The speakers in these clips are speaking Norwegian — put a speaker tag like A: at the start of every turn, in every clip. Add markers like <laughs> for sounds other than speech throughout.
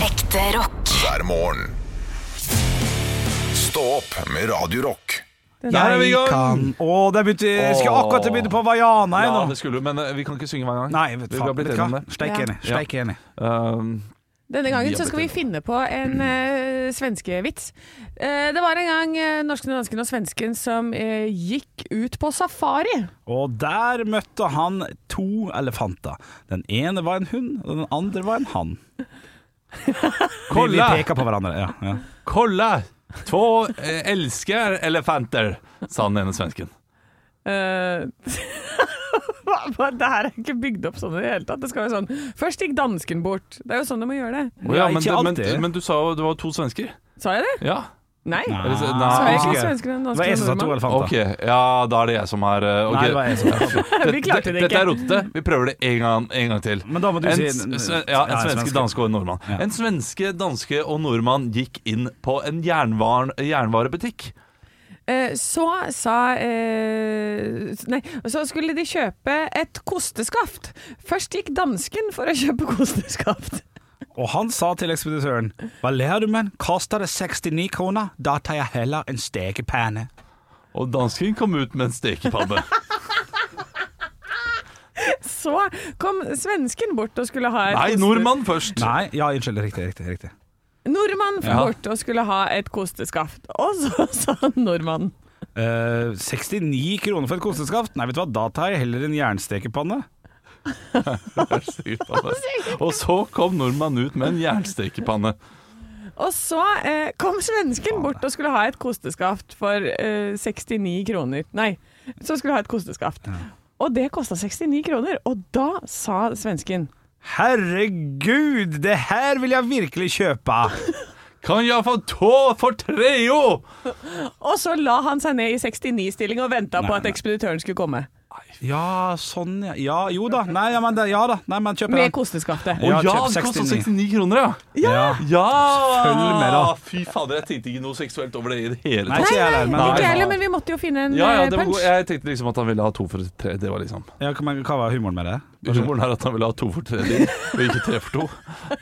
A: Ekte rock.
B: hver morgen. Stå opp med Radio Rock.
C: Der er vi i gang!
D: Å, det begynte, jeg skulle
C: Åh.
D: akkurat begynne på Vaiana jeg,
C: Ja,
D: nå.
C: det skulle du, men eh, vi kan ikke synge hver gang.
D: Nei, vet
C: vi
D: faen,
C: har blitt
D: vet du
C: enige om
D: hva?
C: det.
D: Steik enig.
C: Ja.
D: Steik enig.
C: Um,
E: Denne gangen så skal vi finne på en uh, svenskevits. Eh, det var en gang eh, norsken, dansken og svensken som eh, gikk ut på safari.
D: Og der møtte han to elefanter. Den ene var en hund, og den andre var en hann. Vi, vi
C: kolla!
D: peker på hverandre. Ja, ja.
C: Kolla! Två eh, elsker elefanter, sa den ene svensken.
E: Eh, <laughs> hva- hva- det her er ikke bygd opp sånn i det hele tatt. Det skal jo sånn Først gikk dansken bort. Det er jo sånn du må gjøre det.
D: Ja,
C: men,
D: ikke
C: men,
D: alltid.
C: men du sa jo det var to svensker.
E: Sa jeg det?
C: Ja.
E: Nei.
C: Eller så-
D: Ah,
E: Sa
C: Nei.
E: jeg ikke
D: ok.
E: svensken og
D: Det
E: dansken?
D: var jeg som sa to
E: nordmann?
D: elefanter.
C: Ok, ja, da er det jeg som er eh, ok.
D: Nei, det var jeg som sa
C: <laughs>
D: to.
E: Vi klarte det
C: Dette er
E: ikke.
C: rotete. Vi prøver det en gang, en gang til.
D: Men da må du
C: En,
D: si
C: s- s- ja, en svenske, danske og en nordmann.
D: Ja.
C: En svenske, danske og nordmann gikk inn på en jernvar jernvarebutikk.
E: Eh, Så sa eh, Nei, så skulle de kjøpe et kosteskaft. Først gikk dansken for å kjøpe kosteskaft. <laughs>
D: Og han sa til ekspeditøren Hva ler du men? Koster det 69 kroner? Da tar jeg heller en stekepanne.
C: Og dansken kom ut med en
D: <laughs>
C: stekepanne.
E: Så kom svensken bort og skulle ha et
C: Nei,
E: koste-
C: nordmann først.
D: Nei, ja, unnskyld. Riktig, riktig. riktig.
E: Nordmann
C: Ja.
E: bort og skulle ha et kosteskaft. Og så <laughs> sa nordmannen
D: Eh, 69 kroner for et kosteskaft? Nei, vet du hva, da tar jeg heller en jernstekepanne.
C: Stekepanne. Og så kom nordmannen ut med en jernstekepanne.
E: Og så eh, kom svensken bort og skulle ha et kosteskaft for eh, 69 kroner. Nei, så skulle ha et kosteskaft. Og det kosta 69 kroner. Og da sa svensken
D: Herregud, det her vil jeg virkelig kjøpe!
C: Kan jeg få tå for treo?
E: Og så la han seg ned i 69-stilling og venta på at ekspeditøren skulle komme.
D: <laughs> Ja, sånn, ja. ja jo da. Nei, ja, men, det- ja da. Nei, men kjøp
E: Med
D: den.
E: kosteskaftet.
C: Å ja,
D: Ja,
C: det
D: kjøp
C: koster
D: 69.
C: 69 kroner, ja.
D: Ja.
C: Ja!
D: Følg med, da.
C: Fy fader, jeg tenkte ikke noe seksuelt over det i det hele
D: Nei,
C: tatt.
D: ikke jeg
E: Nei,
D: heller.
E: ikke jeg
D: Men
E: heller, men vi måtte jo finne en
C: Ja, ja,
E: eh,
C: det var
E: punch.
C: god. Jeg tenkte liksom at han ville ha to for tre. Det var liksom
D: ja, hva- men hva var humoren med det?
C: Humoren er at han ville ha to for tre din, og ikke tre
D: <laughs>
C: for to.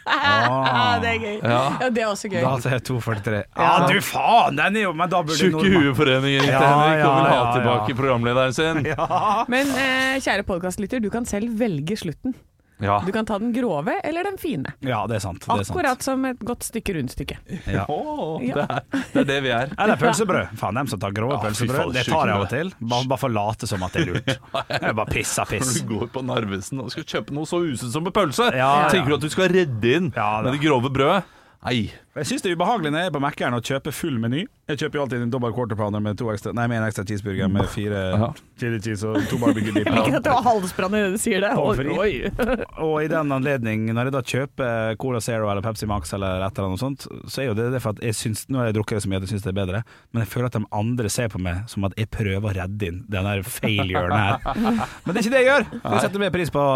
E: Ah, det er gøy.
C: Ja.
E: Ja, det er også gøy.
D: Da tar jeg 2,43. Ja, du faen! Den er jo Men da burde
C: Tjukke
D: nordmann-
C: hueforeningen gikk til
D: Ja,
C: Henrik og ville
D: ja,
C: ha
D: ja,
C: tilbake
D: ja.
C: programlederen sin.
E: Men eh, kjære podkastlytter, du kan selv velge slutten.
C: Ja.
E: Du kan ta den grove eller den fine.
D: Ja, det er sant. Det er sant.
E: Akkurat som et godt stykke rundstykke.
D: Ja.
C: Å, det, er, det er det vi er.
D: Eller pølsebrød. Faen, dem som tar grove
C: Ja, fy faen,
D: pølsebrød. Det tar jeg av og
C: sjukt.
D: til. Bare, bare for å late som at det <laughs> er lurt. Jeg bare pisser
C: Når
D: piss.
C: du går på Narvesen og skal kjøpe noe så usunt som en pølse,
D: Ja, ja.
C: tenker du at du skal redde inn
D: Ja, da.
C: med det grove brødet? Nei.
D: Jeg syns det er ubehagelig når jeg er på Mækkern og kjøper full meny. Jeg kjøper jo alltid en dobbel quarter pounder med to ekstra Nei, med en ekstra cheeseburger med
C: Ja.
D: fire chili cheese og to barbecue dip.
E: <laughs> Ikke at det var halsbrann i det du sier det.
D: Pommes frites.
E: Oi.
D: Og i den anledning, når jeg da kjøper Cola Zero eller Pepsi Max eller et eller annet sånt, så er jo det det for at jeg syns Nå har jeg drukket det så mye at jeg syns det er bedre, men jeg føler at de andre ser på meg som at jeg prøver å redde inn den der failuren her. Men det er ikke det jeg gjør! Jeg setter mer pris på,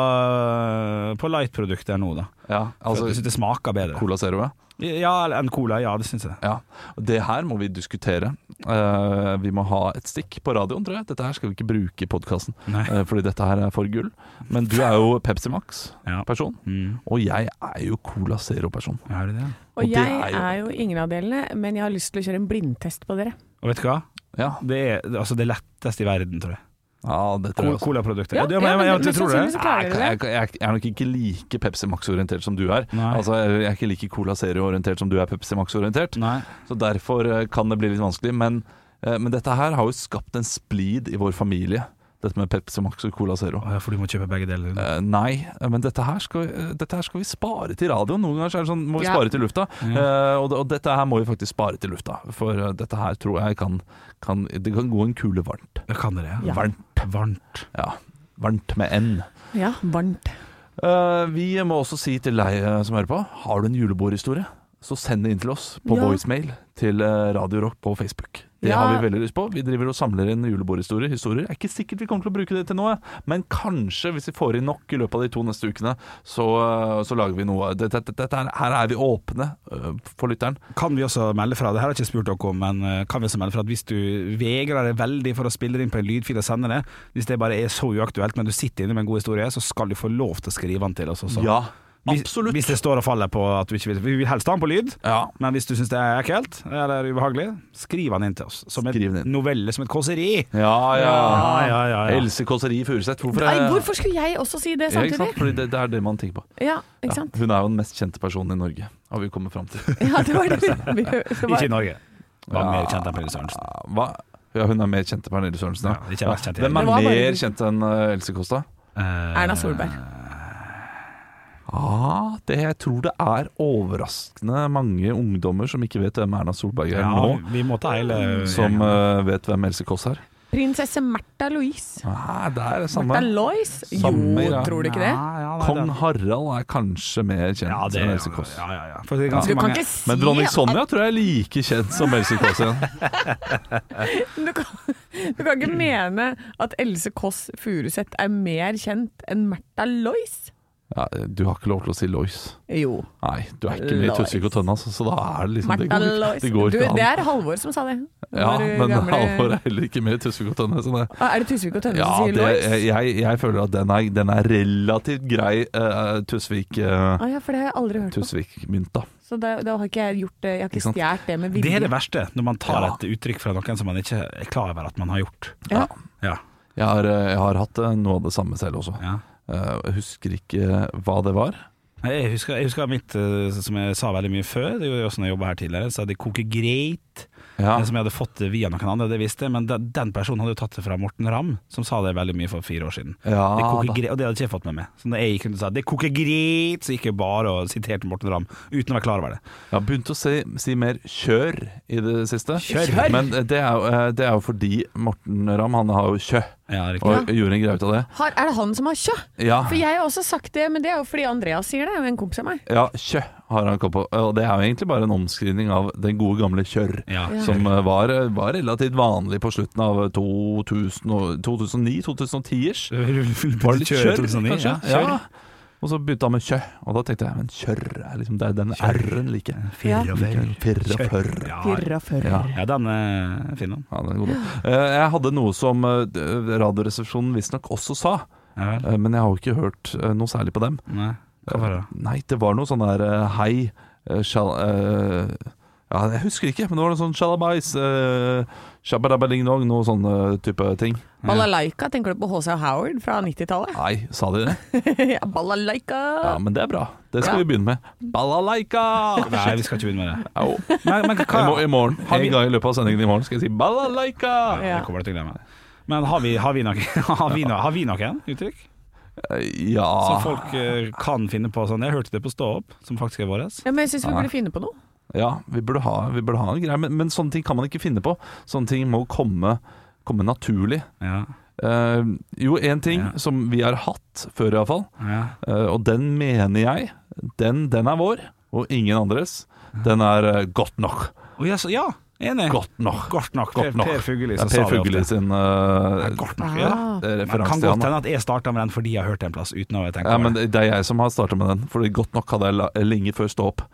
D: på light-produkter nå, da.
C: Ja,
D: Altså, jeg
C: altså
D: syns det smaker bedre.
C: Cola Zero, ja.
D: Ja, enn Cola, ja, det syns jeg.
C: Ja, og Det her må vi diskutere. Eh, vi må ha et stikk på radioen, tror jeg. Dette her skal vi ikke bruke i podkasten,
D: Nei.
C: fordi dette her er for gull. Men du er jo
D: Ja.
C: Pepsi Max-person,
D: Mm.
C: og jeg er jo Cola Zero-person.
D: Er det det?
C: Og
E: Og
C: det
E: jeg
C: er jo-
E: er jo ingen av delene, men jeg har lyst til å kjøre en blindtest på dere.
D: Og vet du hva?
C: Ja.
D: Det er altså det letteste i verden, tror jeg.
C: ja, det tror jeg også.
D: Cola-produkter.
E: Ja,
D: Ja, det-
E: ja,
D: jeg-
E: men-
D: jeg-
E: men
D: jeg tror
E: sannsynligvis
D: det.
E: så klarer
C: Jeg,
E: dere
C: jeg,
E: det.
C: jeg, jeg er nok ikke like Pepsi Max-orientert som du er.
D: Nei.
C: Altså, jeg er ikke like Cola Zero-orientert som du er Pepsi Max-orientert.
D: Nei.
C: Så derfor eh, kan det bli litt vanskelig. Men, eh, men dette her har jo skapt en splid i vår familie, dette med Pepsi Max og Cola Zero.
D: Å, ja, For du må kjøpe begge deler.
C: Eh, nei, men dette her, skal, eh, dette her skal vi spare til radioen. Noen ganger så er det sånn, må vi
E: Ja.
C: spare til lufta. Eh, og, det- og dette her må vi faktisk spare til lufta, for eh, dette her tror jeg kan, kan Det kan gå en kule varmt.
D: Ja, Kan dere?
E: Ja.
C: Varmt,
D: Varmt.
C: ja. Varmt med N.
E: Ja, varmt.
C: Eh, vi må også si til deg eh, som hører på, har du en julebordhistorie? Så send det inn til oss på
E: Ja.
C: voicemail til eh, Radio Rock på Facebook. Det
E: Ja.
C: har vi veldig lyst på. Vi driver og samler inn julebordhistorier. Historier. Det er ikke sikkert vi kommer til å bruke det til noe, men kanskje, hvis vi får inn nok i løpet av de to neste ukene, så, eh, så lager vi noe. Dette, dette, dette her, her er vi åpne eh, for lytteren.
D: Kan vi også melde fra, det her har jeg ikke spurt dere om, men eh, kan vi også melde fra at hvis du vegrer deg veldig for å spille det inn på en lydfil og sende det, hvis det bare er så uaktuelt, men du sitter inne med en god historie, så skal du få lov til å skrive den til oss også.
C: Ja,
D: Hvis,
C: Absolutt.
D: hvis det står og faller på at du ikke vil Vi vil helst ha den på lyd,
C: Ja.
D: men hvis du syns det er ekkelt eller ubehagelig, skriv den inn til oss. Som en
C: Skriv den inn.
D: novelle, som et kåseri.
C: Ja, ja.
D: ja, ja, ja.
C: Else Kåseri Furuseth. Hvorfor,
E: Nei,
C: er-
E: hvorfor skulle jeg også si det
C: Ja, ikke
E: samtidig?
C: sant? Fordi det, det er det man tenker på.
E: Ja, ikke
C: Ja.
E: sant?
C: Hun er jo den mest kjente personen i Norge, har vi kommet fram til.
E: Ja, det var det. vi- det var-
D: Ikke i Norge. Var
C: Ja.
D: mer kjent enn Pelle Sørensen.
C: Hva? Ja, hun er mer kjent enn Pernille Sørensen.
D: Ja, ikke mest kjent i Eh,
C: Hvem er
E: Norge. Det var bare-
C: mer kjent enn eh, Else Kåss, da?
E: Erna Solberg.
C: Ah, det jeg tror det er overraskende mange ungdommer som ikke vet hvem Erna Solberg er
D: Ja,
C: nå,
D: vi må ta hele
C: som
D: gjengen.
C: eh, vet hvem Else Kåss er.
E: Prinsesse Märtha Louise.
C: Ah, det er det
E: Märtha
C: samme.
E: Lois? Jo,
C: Samme, ja.
E: tror du ikke det?
D: Ja, ja, eh, nei,
C: Kong
D: det-
C: Harald er kanskje mer kjent
D: Ja, det
C: enn Else Kåss.
D: Ja, ja, ja. For det er ganske
E: Du kan
D: mange
E: ikke si
C: Men dronning
E: at-
C: Sonja tror jeg er like kjent som Else Kåss <laughs> igjen.
E: du, kan, du kan ikke mene at Else Kåss Furuseth er mer kjent enn Märtha Lois?
C: Ja, du har ikke lov til å si Lois.
E: Jo.
C: Nei, du er ikke med i
E: Lois.
C: Tusvik og Tønne, altså, så da er det liksom Det
E: Märtha
C: går,
E: Lois.
C: det går
E: Du,
C: ikke an.
E: det er Halvor som sa det.
C: Ja,
E: Vår
C: men
E: eh, gamle-
C: Halvor er heller ikke med i Tusvik og Tønne. Så det,
E: Ah, Er det Tusvik og Tønne
C: ja,
E: som sier
C: det,
E: Lois?
C: jeg, jeg føler at den er, den er relativt grei eh, Tusvik, eh,
E: Ah, ja, for det har jeg aldri hørt på.
C: Tusvik-mynt, da.
E: Så da, da har ikke jeg gjort det. Jeg har
C: Ikke
E: ikke
C: sant?
E: stjålet det med
D: Det
E: vilje.
D: er det verste, når man tar
C: Ja.
D: et uttrykk fra noen som man ikke er klar over at man har gjort.
E: Ja.
D: Ja,
C: Jeg har, eh, jeg har hatt eh, noe av det samme selv også.
D: ja.
C: Eh, Jeg husker ikke hva det var.
D: Nei, Jeg husker, jeg husker mitt, eh, som jeg sa veldig mye før, det gjorde jeg også når jeg jobba her tidligere, så hadde jeg koker greit,
C: Ja,
D: det som jeg hadde fått det via noen andre, det visste jeg, men den, den personen hadde jo tatt det fra Morten Ramm, som sa det veldig mye for fire år siden.
C: ja
D: Det koker
C: da.
D: greit, og det hadde ikke jeg fått med meg. Så når jeg gikk rundt og sa 'det koker greit', så gikk jeg bare og siterte Morten Ramm, uten å være klar over det.
C: Jeg har begynt å si, si mer 'kjør' i det siste.
D: Kjør!
C: Men eh, det er, jo- eh, det er jo fordi Morten Ramm han har jo 'kjø',
D: Ja, riktig.
C: og gjorde en greie ut av det.
E: Har, er det han som har kjø?
C: Ja.
E: For jeg har også sagt det, men det er jo fordi Andreas sier det, en kompis av meg.
C: Ja, kjø har han kommet på. Og det er jo egentlig bare en omskrivning av den gode gamle kjørr.
D: Ja. <laughs>
C: Som eh, var, var relativt vanlig på slutten av eh, 2009-2010-ers. Var det litt kjørr, kanskje? Ja. Og så begynte han med kjø, og da tenkte jeg men kjørr er liksom det er den r-en like.
E: Ja.
C: Firre førr.
D: Ja,
C: Ja.
D: Ja, den er fin, den.
C: Ja, den er god. Eh, Jeg hadde noe som eh, Radioresepsjonen visstnok også sa,
D: Ja vel.
C: eh, men jeg har jo ikke hørt eh, noe særlig på dem. Eh,
D: Nei. Hva var det?
C: Nei, det var noe sånn der eh, Hei, eh, shall eh, ja, Jeg husker ikke, men det var noe sånn shalabais uh, Shabadabaling-dong, noe sånn eh, type ting
E: Balalaika, tenker du på H.C. Howard fra 90-tallet?
C: Nei, sa de det?
E: <laughs> ja, balalaika!
C: Ja, men det er bra Det skal
E: Ja.
C: vi begynne med Balalaika!
D: Nei, vi skal ikke begynne med det.
C: Au.
D: Men, men
C: I,
D: hva
C: mo I morgen,
D: Hei.
C: en gang i løpet av sendingen i morgen skal jeg si Balalaika!
D: Ja, Det kommer jeg til å glemme. Men har vi, har vi, noen, <laughs> har vi, noen, har vi noen uttrykk
C: Eh, Ja
D: som folk eh, kan finne på sånn? Jeg hørte det på Stå opp, som faktisk er våres.
E: Ja, men jeg syns vi burde finne på noe.
C: Ja, vi burde ha, vi burde ha en greie men, men sånne ting kan man ikke finne på Sånne ting må komme, komme naturlig
D: Ja,
C: Eh, Jo, en ting
D: Ja.
C: som vi har hatt Før i hvert fall
D: ja.
C: Eh, og den mener jeg, den, den er vår, og ingen andres. Den er eh, godt nok.
D: Å, ja, så- ja enig.
C: Godt nok.
D: Godt nok.
C: Godt nok.
D: Per Fugelli
C: Det
D: som
C: er
D: sa
C: Per
D: det ofte.
C: Fugelli sin eh,
D: Ja, Godt nok, ja. Men
C: eh,
E: Ah.
D: Det kan
C: referanse til
D: godt
C: han. da.
D: hende at jeg starta med den fordi jeg har hørt det en plass, uten å ha tenkt
C: Ja,
D: over
C: men
D: det.
C: det er jeg som har starta med den, Fordi godt nok hadde jeg la- lenge før stå opp.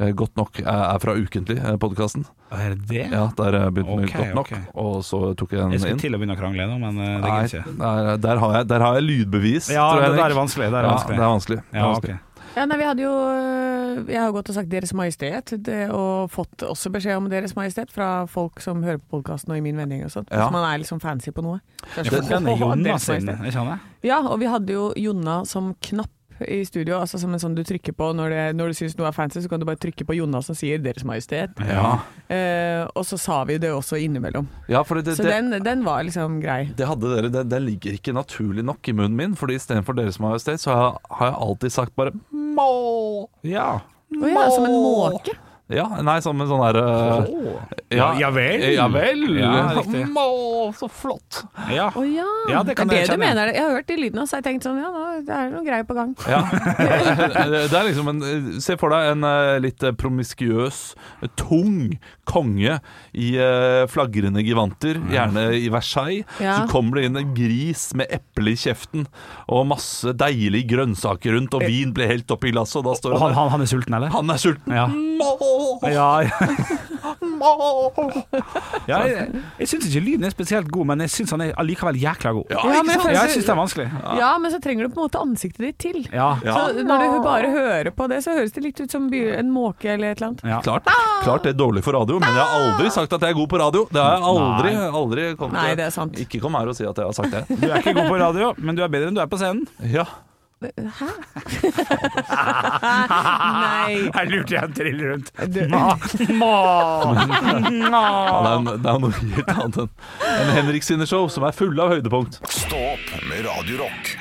C: Eh, Godt nok er- er fra Ukentlig-podkasten.
D: Å, Er det det?
C: Ja, der jeg begynte med
D: Ok,
C: Godt nok,
D: ok.
C: og så tok jeg den
D: Jeg skulle
C: inn.
D: til å begynne å krangle nå, men eh, det
C: Nei,
D: gidder jeg ikke.
C: der, der, har jeg, der har jeg lydbevis,
D: Ja,
C: tror
D: det der
C: jeg.
D: er
C: Henrik.
D: vanskelig. Det er
C: Ja,
D: vanskelig.
C: det er vanskelig. Det er
D: Ja,
C: vanskelig.
D: ok.
E: Ja, nei, vi hadde jo øh, Jeg har jo gått og sagt Deres Majestet, det, og fått også beskjed om Deres Majestet fra folk som hører på podkasten og i min vending og sånt.
C: Ja.
E: Hvis man er liksom fancy på noe. Så er
D: Ja,
E: det
D: for
E: sånn,
D: den er
E: «Åh, Deres
D: Jonas sin,
E: Majestet».
D: ikke sant?
E: Ja, og vi hadde jo Jonna som knapp i studio, altså som en sånn du trykker på når, det, når du syns noe er fancy, så kan du bare trykke på Jonna som sier 'Deres Majestet'.
C: Ja.
E: Eh, og så sa vi det også innimellom.
C: Ja, for det,
E: Så
C: det,
E: den, den var liksom grei.
C: Det hadde dere, det, det ligger ikke naturlig nok i munnen min, fordi istedenfor Deres Majestet, så har jeg, har jeg alltid sagt bare Må!
D: Ja.
E: Å ja, som en måke.
C: Ja, nei, som en sånn derre
D: Ja, ja vel.
C: Ja vel!
D: Ja, riktig.
C: Må! Så flott!
D: Ja.
E: Å ja.
D: Ja, det kan
E: er
D: jeg
E: det du
D: kjenne.
E: mener. Jeg har hørt de lydene, og så har jeg tenkt sånn ja, nå det er noe greier på gang.
C: Ja. <laughs> Det er liksom en Se for deg en eh, litt promiskuøs, eh, tung konge i eh, flagrende gevanter,
D: Mm.
C: gjerne i Versailles.
E: Ja.
C: Så kommer det inn en gris med eple i kjeften og masse deilige grønnsaker rundt, og vin blir helt oppi glasset, og da står
D: Eh. Og
C: det
D: han, han, han er sulten, eller?
C: Han er sulten.
D: Ja.
C: Må!
D: Ja, ja. ja jeg jeg syns ikke lyden er spesielt god, men jeg syns han er allikevel jækla god.
E: Ja, men
D: Ja,
E: jeg
D: jeg
E: føler-
D: syns det er vanskelig.
E: Ja, men så trenger du på en måte ansiktet ditt til.
D: Ja.
E: Så når du bare hører på det, så høres det litt ut som by- en måke eller et eller annet.
D: Ja.
C: Klart, klart det er dårlig for radio, men jeg har aldri sagt at jeg er god på radio. Det har jeg aldri, aldri kommet
E: Nei,
C: til.
E: det er sant.
C: Ikke kom her og si at jeg har sagt det.
D: <laughs> Du er ikke god på radio, men du er bedre enn du er på <laughs> scenen.
C: Ja.
E: Hæ?
D: Ah.
E: Nei.
D: Her lurte jeg en trill rundt.
E: Du-
D: <laughs> Ma, ma,
C: Ja,
D: ma.
C: det, er, en- det er noe helt annet enn enn Henrik sine show, som er fulle av høydepunkt.
B: Stå opp med Radio Rock.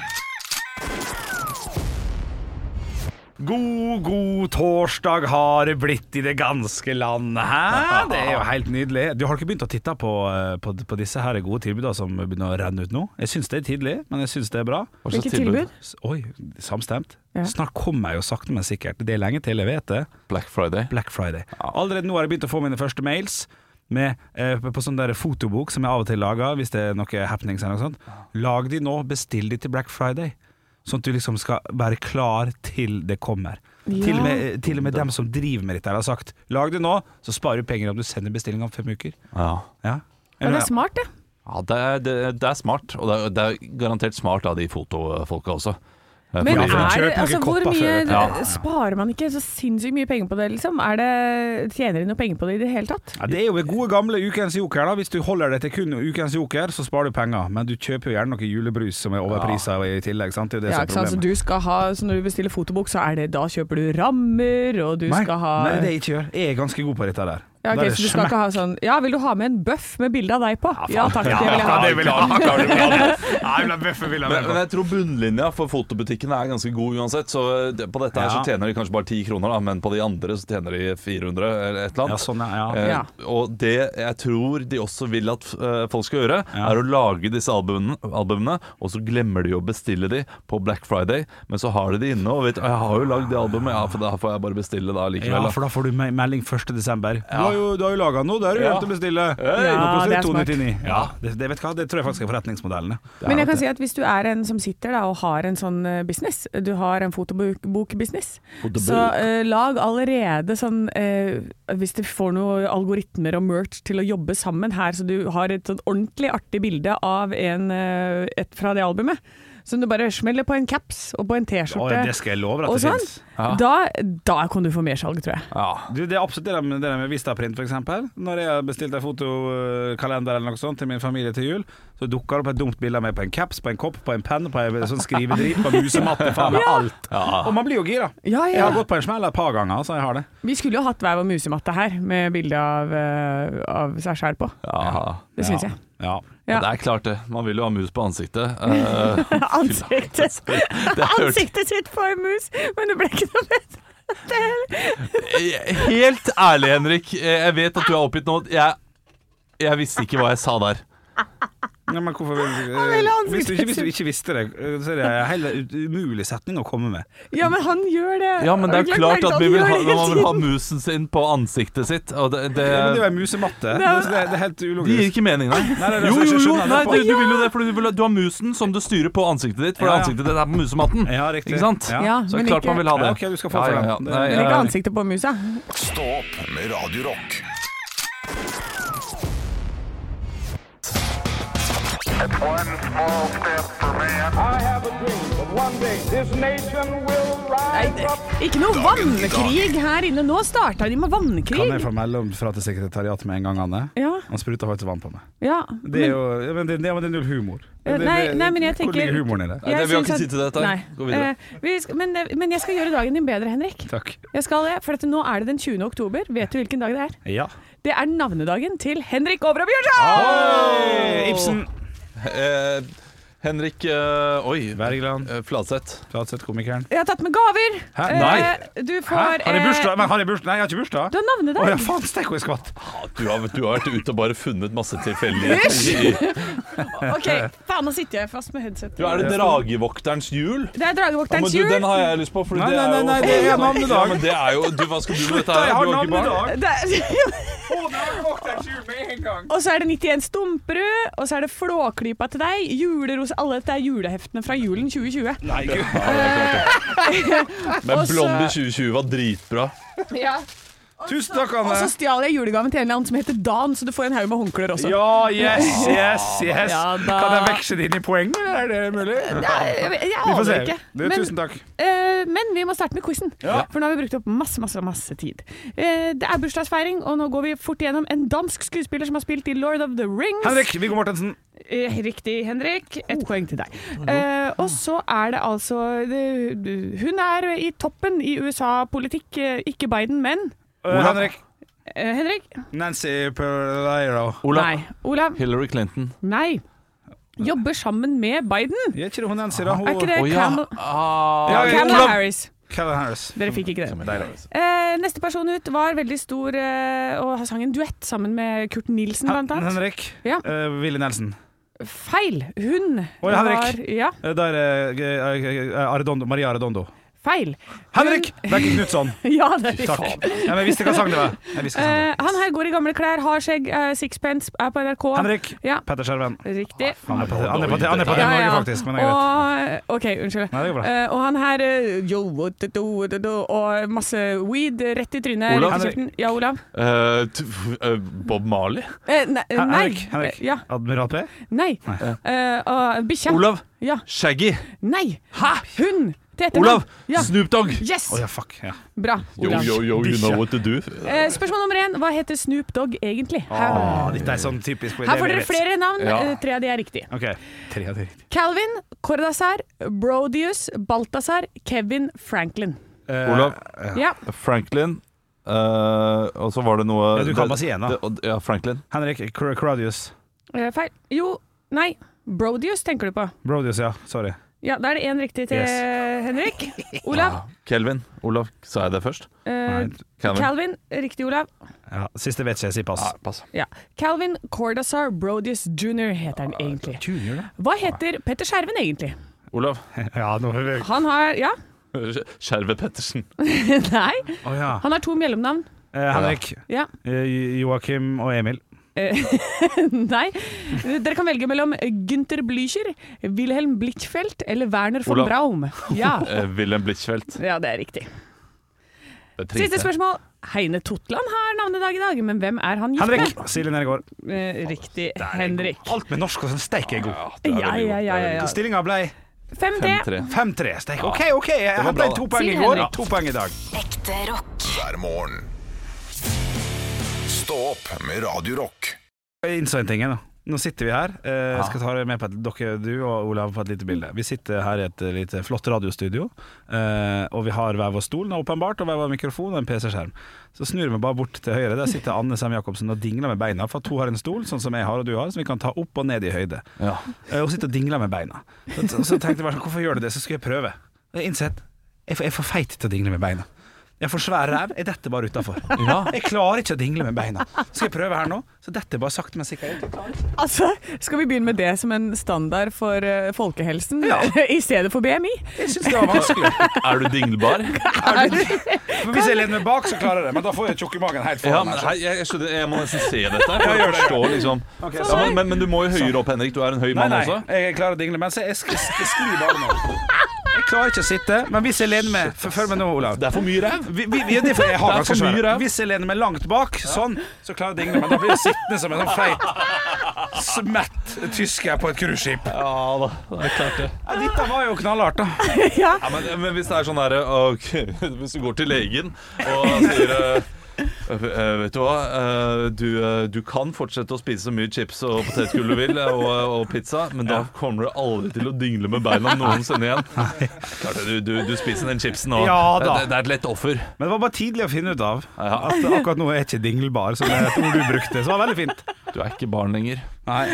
D: God, god torsdag har det blitt i det ganske land. Hæ? Det er jo helt nydelig. Du har ikke begynt å titte på, eh, på, på disse her gode tilbudene som begynner å renne ut nå? Jeg syns det er tidlig, men jeg syns det er bra.
C: Hva slags
E: Hvilket tilbud?
D: S- Oi, samstemt.
E: Ja.
D: Snart kommer jeg jo sakte, men sikkert. Det er lenge til, jeg vet det.
C: Black Friday.
D: Black Friday. Allerede nå har jeg begynt å få mine første mails med, eh, på sånn der fotobok som jeg av og til lager hvis det er noe happenings eller noe sånt. Lag de nå, bestill de til Black Friday. Sånn at du liksom skal være klar til det kommer.
E: Ja.
D: Til, og med, til og med dem som driver med dette her har sagt lag det nå, så sparer du penger om du sender bestilling om fem uker.
C: Ja.
D: Ja.
E: Ja, det er smart, det.
C: Ja, det er, det, det er smart, og det er, det er garantert smart av de fotofolka også. Eh,
E: Men
C: fordi-
E: er,
D: kjøper noen
E: altså, hvor
D: kopper
E: mye
D: før,
C: ja.
E: sparer man ikke så sinnssykt mye penger på det, liksom? Er det, tjener de noe penger på det i det hele tatt?
D: Ja, det er jo det gode gamle ukens joker. da Hvis du holder deg til kun ukens joker, så sparer du penger. Men du kjøper jo gjerne noe julebrus som er overprisa i tillegg. Sant? Det er jo det som
E: Ja,
D: er
E: ikke sant? Så
D: problemet.
E: du skal ha, så når du bestiller fotobok, så er det da kjøper du rammer, og du
D: Nei,
E: skal ha
D: nei, det er det jeg ikke gjør. Jeg er ganske god på dette der.
E: ja, ok,
D: Der er
E: så du skal
D: smekk-
E: ikke ha sånn Ja, vil du ha med en bøff med bilde av deg på? Ja takk, det vil jeg
D: Ja,
E: ha.
D: det vil jeg ha. Klarer du det? Nei, men bøffer vil jeg
C: Men,
D: vel
C: men
D: ha.
C: jeg tror bunnlinja for fotobutikkene er ganske god uansett. Så det, på dette her
D: Ja.
C: så tjener de kanskje bare 10 kroner, da, men på de andre så tjener de 400 eller et eller
D: Ja,
C: annet.
D: sånn, ja. ja.
C: Eh,
E: Ja.
C: Og det jeg tror de også vil at eh, folk skal gjøre,
D: Ja.
C: er å lage disse albumene, albumene, og så glemmer de å bestille de på Black Friday. Men så har de de inne og vet «Å, Jeg har jo lagd det albumet, ja, for da får jeg bare bestille da likevel.
D: Ja,
C: da.»
D: for da får du me- melding 1. desember. Du har jo, du har jo laga noe, det har du
C: Ja.
D: glemt å bestille.
E: Ja,
D: Nå koster
E: det er smart.
D: 299. Ja, det, det, vet du hva? det tror jeg faktisk er forretningsmodellen. ja.
E: Men jeg kan si at hvis du er en som sitter da, og har en sånn eh, business, du har en fotobok-business,
C: Fotobok.
E: så eh, lag allerede sånn eh, Hvis du får noen algoritmer og merch til å jobbe sammen her, så du har et sånn ordentlig artig bilde av en, eh, et fra det albumet, som du bare smeller på en caps og på en
D: Å,
E: T-skjorte
D: ja, det skal jeg love deg
E: og
D: at det
E: sånn,
D: fins.
C: Ja.
E: da, da kan du få mersalg, tror jeg.
C: Ja.
D: Du, det er absolutt det der med, det der med Vistaprint, for eksempel. Når jeg har bestilt en fotokalender eller noe sånt til min familie til jul, så dukker det opp et dumt bilde av meg på en caps, på en kopp, på en penn, på en sånn skrivedrit, på en musematte, faen meg alt. Og man blir jo gira.
E: Ja,
D: Jeg
E: ja.
D: har gått på en smell et par ganger, så jeg har det.
E: Vi skulle jo hatt hver vår musematte her, med bilde av, eh, av seg sjæl på.
C: Ja.
E: Det syns jeg.
D: Ja.
E: Ja.
C: Det er klart det. Man vil jo ha mus på ansiktet. Eh,
E: <laughs> Ansiktet
C: det er hørt.
E: Ansiktet sitt på en mus, men det ble ikke noe bedre. Det er-
C: Eh, <laughs> Helt ærlig, Henrik. eh, Jeg vet at du er oppgitt nå. Jeg, jeg visste ikke hva jeg sa der.
D: Nei, men hvorfor vil,
E: vil ha
D: hvis, du ikke, hvis du
E: ansiktet
D: ikke visste det, eh, så er det en helt umulig setning å komme med.
E: Ja, men han gjør det.
C: Ja, men det
E: Har
C: er
E: du
C: klart
E: lagt merke til
C: at
E: han
C: vi vil
E: gjør
C: ha,
E: det hele
C: man vil ha
E: tiden?
C: musen sin på ansiktet sitt. Og det, det,
D: Men det er jo en musematte. Det, det, det er helt
C: det gir
D: ulogisk.
C: ikke mening, nei.
D: Nei, nei, nei,
C: Jo,
D: jeg
C: jo, jo.
D: skjønner det
C: Nei,
D: på.
C: du, du vil jo det, for du, vil, ha- du har musen som du styrer på ansiktet ditt, for
D: Ja, ja.
C: ansiktet ditt er på musematten.
D: Ja, riktig.
C: Ikke sant?
D: Ja.
E: Ja,
C: Så det
E: men
C: er klart
E: ikke,
C: man vil ha Eh, det.
D: Ja, ok, du skal få for den.
C: Nei,
E: men ikke
C: jeg-
E: ansiktet på musa.
B: Stå opp med Radio Rock.
A: One small step for man.
F: I have a dream that one day this nation will
E: Nei,
F: rise
E: det-
F: up.
E: ikke noe vannkrig her inne. Nå starta de med
D: Kan jeg
E: vannkrig.
D: få melde om fra til sekretariatet med en gang, Anne?
E: Ja,
D: Han spruta faktisk vann på meg.
E: ja.
D: Det er jo ja, men det, det, men det er null humor.
E: Eh,
D: Det, det,
E: nei, nei, men jeg
D: hvor
E: tenker-
D: ligger humoren i det?
C: Nei, det- vi har
E: Jeg
C: ikke
E: syns at-
C: tid til dette.
E: Nei.
C: Gå videre.
E: Eh, vi skal, men, men jeg skal gjøre dagen din bedre, Henrik.
D: Takk.
E: Jeg skal det, for at nå er det den 20. oktober. Vet du hvilken dag det er?
D: Ja.
E: Det er navnedagen til Henrik Overhaug Bjørnson!
D: Oi! Ibsen.
C: Eh, Henrik eh, Oi.
D: Wergeland.
C: eh, Fladseth.
D: Flatseth, komikeren.
E: Jeg har tatt med gaver.
D: Hæ?
E: Eh,
D: Nei.
E: Du får
D: Hæ? Har jeg
E: eh,
D: bursdag? Men har jeg bursdag? Nei, jeg har ikke bursdag.
E: Du har
D: Å
E: navnedag.
D: ja, faen steik hvor jeg skvatt.
C: Du har, du har vært ute og bare funnet masse tilfeldigheter. i-
E: Ok, faen, nå sitter jeg fast med headset.
C: Du, er det Dragevokterens jul?
E: Det
C: Ja,
E: er
C: men
E: Dragevokterens
C: du,
E: jul.
C: den har jeg lyst på. Fordi
D: Nei,
C: det
D: nei, nei,
C: er jo
D: nei, det er
C: Nei,
D: navnedag.
C: Ja, men det er jo du, Hva skal du med dette
D: <laughs>
C: her?
D: Jeg
C: Du
D: har
C: ikke barn?
D: navnedag.
E: Det er- <laughs>
F: gang.
E: og så er det 91 Stumperud, og så er det Flåklypa til deg, juleros Alle dette er juleheftene fra julen 2020.
D: Nei, gud.
C: Men
E: Også- <laughs>
C: Blondie 2020 var dritbra.
E: Ja.
D: Tusen takk,
E: Og så
D: Anne!
E: stjal jeg julegaven til en eller annen som heter Dan, så du får en haug med håndklær også.
D: Ja, yes, yes, yes!
E: Ja da.
D: Kan jeg veksle det inn i poeng, eller er det mulig?
E: Jeg, jeg, jeg
D: Vi får
E: aner
D: se.
E: ikke.
D: Du,
E: Men-
D: tusen takk.
E: Eh, men vi må starte med quizen,
D: Ja.
E: for nå har vi brukt opp masse masse, masse tid. Eh, det er bursdagsfeiring, og nå går vi fort gjennom en dansk skuespiller som har spilt i Lord of the Rings.
D: Henrik Oh. Viggo Mortensen.
E: Eh, riktig, Henrik. Et poeng til deg. Eh, og så er det altså det- Hun er i toppen i USA-politikk. eh, Ikke Biden, men
D: Eh, Henrik
E: eh, Henrik?
D: Nancy Pereiro.
C: Ola.
E: Nei. Olav?
C: Hillary Clinton.
E: Nei. Jobber sammen med Biden.
D: Er ikke det hun Nancy, da? Hun,
E: Er ikke det
C: Å ja.
E: Campbell-
C: Ah.
D: Ja, ja,
E: Kamala
D: Olav.
E: Harris?
D: Calvin Harris.
E: Dere fikk ikke det.
D: Deilig.
E: Eh, neste person ut var veldig stor eh, og sang en duett sammen med Kurt Nilsen, blant
D: Hen-
E: annet.
D: Henrik.
E: Ja.
D: Eh, Willy Nelson.
E: Feil. Hun
D: Oi, Henrik.
E: var Ja,
D: Eh, Da er det eh, eh, Arredondo, Maria Arredondo.
E: feil. <laughs>
D: Henrik Bekke Knutson.
E: Ja, det er
D: Takk. Ja, men jeg visste hva sang det var. Jeg visste hva sang
E: Eh,
D: det var.
E: han her går i gamle klær, har skjegg, eh, sixpence, er på NRK.
D: Henrik
E: Ja,
D: Petter Skjerven.
E: riktig.
D: Han er på, han er på, han er på det
E: Ja,
D: Norge,
E: ja.
D: faktisk, men det er greit.
E: Og, OK, unnskyld.
D: Nei, det går bra.
E: Eh, og han her eh, jo, what to do, what to do, Og masse weed eh, rett i trynet.
C: Olav.
E: rett i kjeften. Ja, Olav.
C: Eh, t- eh, Bob Marley?
E: Eh, nei. eh, nei.
D: Henrik, Henrik.
E: Eh, Ja,
D: Admiral P.
E: nei. Eh, og bikkja.
C: Olav.
E: Ja.
C: Shaggy.
E: Nei. Hun til etternavn.
C: Olav.
E: Ja.
C: Snoop Dogg.
E: Yes!
D: Å ja, fuck. Ja.
E: Bra. Olav.
C: yo,
D: you know
C: what to do.
E: Eh, spørsmål nummer én. Hva heter Snoop Dogg egentlig? Her,
D: Ah, dette er sånn typisk
E: her får dere flere navn.
C: Ja.
E: Eh, tre av de er riktige.
D: OK. Tre av de riktige.
E: Calvin, Cordazar, Brodius, Balthazar, Kevin Franklin.
D: Eh,
C: Olav.
E: Ja.
C: Franklin. eh, og så var det noe
D: Ja, du kan bare si en, da.
C: det- og- Ja, Franklin.
D: Henrik Cr- Crodius.
E: Eh, feil. Jo, nei. Brodius tenker du på.
D: Brodius, ja. Sorry.
E: Ja, Da er det én riktig til eh,
D: Yes.
E: Henrik.
D: <laughs>
E: Olav.
C: Kelvin. Olav, sa jeg det først?
E: Eh,
D: Nei.
C: Calvin.
E: Calvin. Riktig, Olav.
D: Ja, siste vet ikke, jeg sier pass.
C: Ja, pass.
E: Ja. Calvin Cordazar Brodius jr. heter
D: Ah,
E: han egentlig.
D: Junior, da?
E: Hva heter Petter Skjerven egentlig?
C: Olav.
D: Ja, nå er vi
E: Han har Ja? <laughs>
C: Skjerve Pettersen.
E: Nei.
D: Å, ja.
E: Han har to mellomnavn.
D: Eh, Henrik,
E: Ja. <laughs>
D: eh, Joakim og Emil.
E: Nei. Dere kan velge mellom Gunther Blücher, Wilhelm Blichfeldt eller Werner von
C: Olav.
E: Braum.
C: <laughs>
E: Ja.
C: Eh, Wilhelm Blitchfeldt.
E: ja, det er riktig.
C: Det er
E: Siste
C: triste.
E: spørsmål. Heine Totland har navnedag i dag, men hvem er han gift
D: Henrik!
E: med?
D: Silje Nergård.
E: Eh, Riktig, Henrik.
D: Alt med norsk og sånn steik er god.
C: Det er veldig
E: Ja, ja,
C: godt.
E: ja, ja, ja.
D: Stillinga ble
E: 5D.
C: 5-3.
D: 5-3. Steik. OK, OK. Jeg
C: var
D: hadde
C: bra,
D: inn to
C: da.
D: poeng i
E: Sier
D: går,
E: Henrik.
D: to poeng i dag.
G: Ekte rock.
B: hver morgen. Stå opp med Radio Rock.
D: Jeg innså en ting, jeg, da. Nå sitter vi her. Eh, Jeg skal ta dere med på et, dere, du og Olav på et lite bilde. Vi sitter her i et eh, lite flott radiostudio, eh, og vi har hver vår stol, nå, åpenbart, og hver vår mikrofon og en PC-skjerm. Så snur vi bare bort til høyre. Der sitter Anne Sem Jacobsen og dingler med beina, for to har en stol, sånn som jeg har og du har, som vi kan ta opp og ned i høyde.
C: Ja.
D: Eh, Og sitte og dingle med beina. Så, så tenkte jeg bare sånn, hvorfor gjør du det? Så skulle jeg prøve. Og jeg innsett, jeg er for- jeg er for feit til å dingle med beina. Jeg får svær ræv, jeg detter bare
C: <laughs>
D: utafor. Jeg klarer ikke å dingle med beina. Så skal jeg prøve her nå, så detter jeg bare sakte, men sikkert. ut.
E: Altså, skal vi begynne med det som en standard for eh, folkehelsen
D: Ja.
E: <laughs> i stedet for BMI?
D: Jeg syns det var vanskelig.
C: Er du dinglbar?
E: <laughs>
D: For hvis jeg lener meg bak, så klarer jeg det. Men da får jeg tjukk i magen helt
C: Ja,
D: foran.
C: men
D: meg,
C: hei, jeg, jeg, skjønner, jeg må nesten se dette. her, For å forstå, liksom.
D: så-
C: ja, men, men, men du må jo høyere opp, Henrik. Du er en høy
D: Nei,
C: mann
D: nei,
C: også.
D: jeg klarer å dingle, men så jeg sk- sk- sklir bare nå. Jeg klarer ikke å sitte, men hvis jeg lener meg f- Følg meg nå, Olav.
C: Det er for mye ræv.
D: Vi, vi, vi, det er for, jeg har
C: Det er
D: ganske
C: for mye
D: svære.
C: ræv.
D: Hvis jeg lener meg langt bak, sånn, så klarer jeg å dingle, men da blir jeg sittende som en sånn feit, smett tysker på et cruiseskip.
C: Ja da, det er klart det.
D: Ja, dette var jo knallhardt, da.
E: ja.
C: Ja, men, men hvis det er sånn der ok, <laughs> Hvis du går til legen og han sier eh, eh, vet du hva, eh, du, eh, du kan fortsette å spise så mye chips og potetgull du vil, eh, og, og pizza, men da kommer du aldri til å dingle med beina noensinne igjen. Klart det, du, du, du spiser den chipsen, og
D: Ja
C: det,
D: da.
C: det er et lett offer.
D: Men det var bare tidlig å finne ut av
C: Ja.
D: at akkurat nå er jeg ikke dinglbar, som er et ord du brukte. Så det var veldig fint.
C: Du er ikke barn lenger.
D: Nei.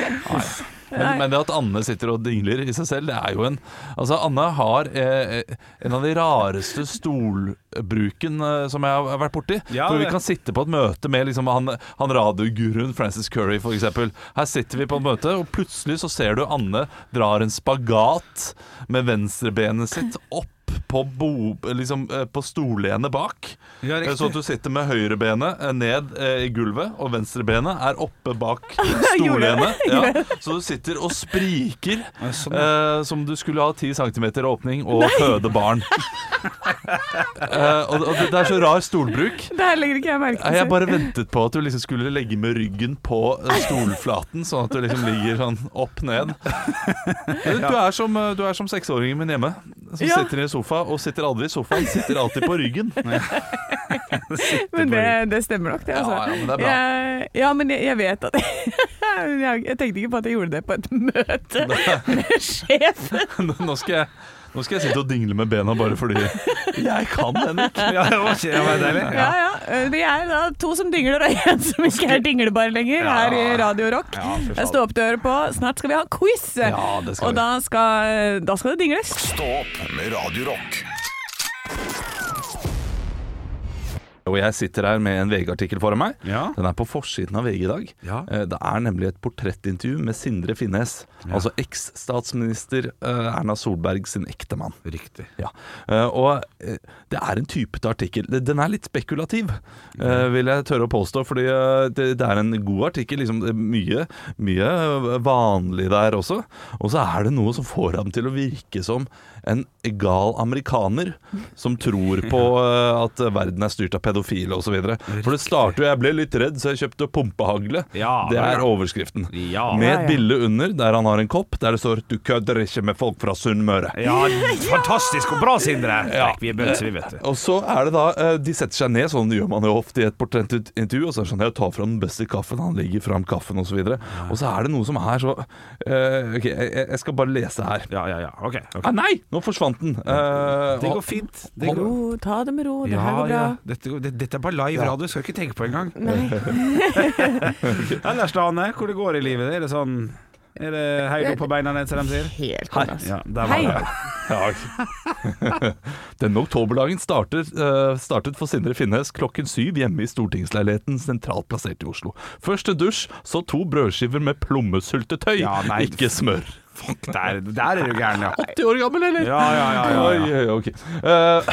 C: Men, men det at Anne sitter og dingler i seg selv, det er jo en Altså, Anne har eh, en av de rareste stolbruken eh, som jeg har vært borti.
D: Ja,
C: hvor vi
D: det-
C: kan sitte på et møte med liksom, han, han radioguruen Francis Curry, for eksempel. Her sitter vi på et møte, og plutselig så ser du Anne drar en spagat med venstrebenet sitt opp på, bo, liksom, eh, på stolene bak.
D: Ja, riktig.
C: Eh, så at du sitter med høyrebenet eh, ned eh, i gulvet, og venstrebenet er oppe bak
D: <laughs>
C: stolene. Ja, så du sitter og spriker
D: Ja, sånn,
C: eh, som du skulle ha 10 cm åpning og føde barn. eh, og, og det, det er så rar stolbruk.
E: Det her legger ikke jeg merke
C: Nei,
E: til.
C: Jeg bare ventet på at du liksom skulle legge med ryggen på eh, stolflaten, sånn at du liksom ligger sånn opp ned. Du du er som, eh, du er som seksåringen min hjemme, som
E: Ja.
C: sitter i sofa og sitter aldri i sofaen, sitter alltid på ryggen. <laughs>
E: Men det, det stemmer nok, det. Altså.
C: Ja, ja, men det er bra.
E: Jeg, ja, men jeg, jeg vet at <laughs> jeg, jeg tenkte ikke på at jeg gjorde det på et
C: <laughs>
E: møte med sjefen.
C: Nå skal jeg, nå skal jeg sitte og dingle med bena bare fordi jeg kan den ikke.
D: Ja, det var, ikke, det var deilig.
E: Ja, ja. Eh, Vi er da to som dingler og én som ikke er dinglebar lenger her i Radio Rock.
D: Ja, fy faen.
E: Jeg står opp dører på. Snart skal vi ha quiz,
C: Ja, det skal
E: og
C: vi.
E: da skal, da skal det dingles.
B: Stå opp med Radio Rock.
C: Og jeg sitter her med en VG-artikkel foran meg.
D: Ja.
C: Den er på forsiden av VG i dag.
D: Ja.
C: Eh, Det er nemlig et portrettintervju med Sindre Finnes. Altså eks-statsminister eh, Erna Solberg sin ektemann.
D: Riktig.
C: Ja. Eh, Og eh, det er en typete artikkel. Det- Den er litt spekulativ, eh, vil jeg tørre å påstå. Fordi eh, det det er en god artikkel. Liksom, det er mye, mye vanlig der også. Og så er det noe som får ham til å virke som en gal amerikaner som tror
D: <laughs>
C: på eh, at verden er styrt av pedofile osv. For det starter jo 'Jeg ble litt redd, så jeg kjøpte pumpehagle'.
D: Ja,
C: det er
D: ja.
C: overskriften.
D: Ja.
C: Med
E: Ja, ja.
C: et bilde under der han har en kopp der det står 'Du kødder ikke med folk fra Sunnmøre'.
D: Ja, fantastisk og bra, Sindre. Trekk, Vi er bønser, vi, vet du.
C: Og så er det da eh, De setter seg ned, sånn gjør man jo ofte i et portrettintervju. Og så er det sånn Jeg tar fram den beste kaffen, han legger fram kaffen, osv. Og, og så er det noe som er så eh, OK, jeg, jeg skal bare lese her.
D: Ja, ja, ja. OK. ok.
C: Ah, nei! Nå forsvant den. Eh,
D: Det går
C: og-
D: fint. Det går.
E: Ro, ta det med ro, det her
D: Ja,
E: går bra.
D: ja. Dette, går- det, dette er bare live radio, skal ikke tenke på engang.
E: Nei.
D: <laughs> Ellers, da, Anne, hvor det går i livet? Er det sånn Er det høyt opp på beina ned, som de sier?
E: Helt konge, altså.
D: Ja, der var
E: Hei.
D: det.
C: Ja. Denne oktoberdagen startet, eh, startet for Sindre Finnes klokken syv hjemme i stortingsleiligheten sentralt plassert i Oslo. Først en dusj, så to brødskiver med plommesyltetøy,
D: <laughs> Ja, nei.
C: ikke smør.
D: Der, der er du gæren, ja.
C: 80 år gammel, eller?
D: Ja, ja, ja. ja, ja.
C: Oi, oi, ok. Eh,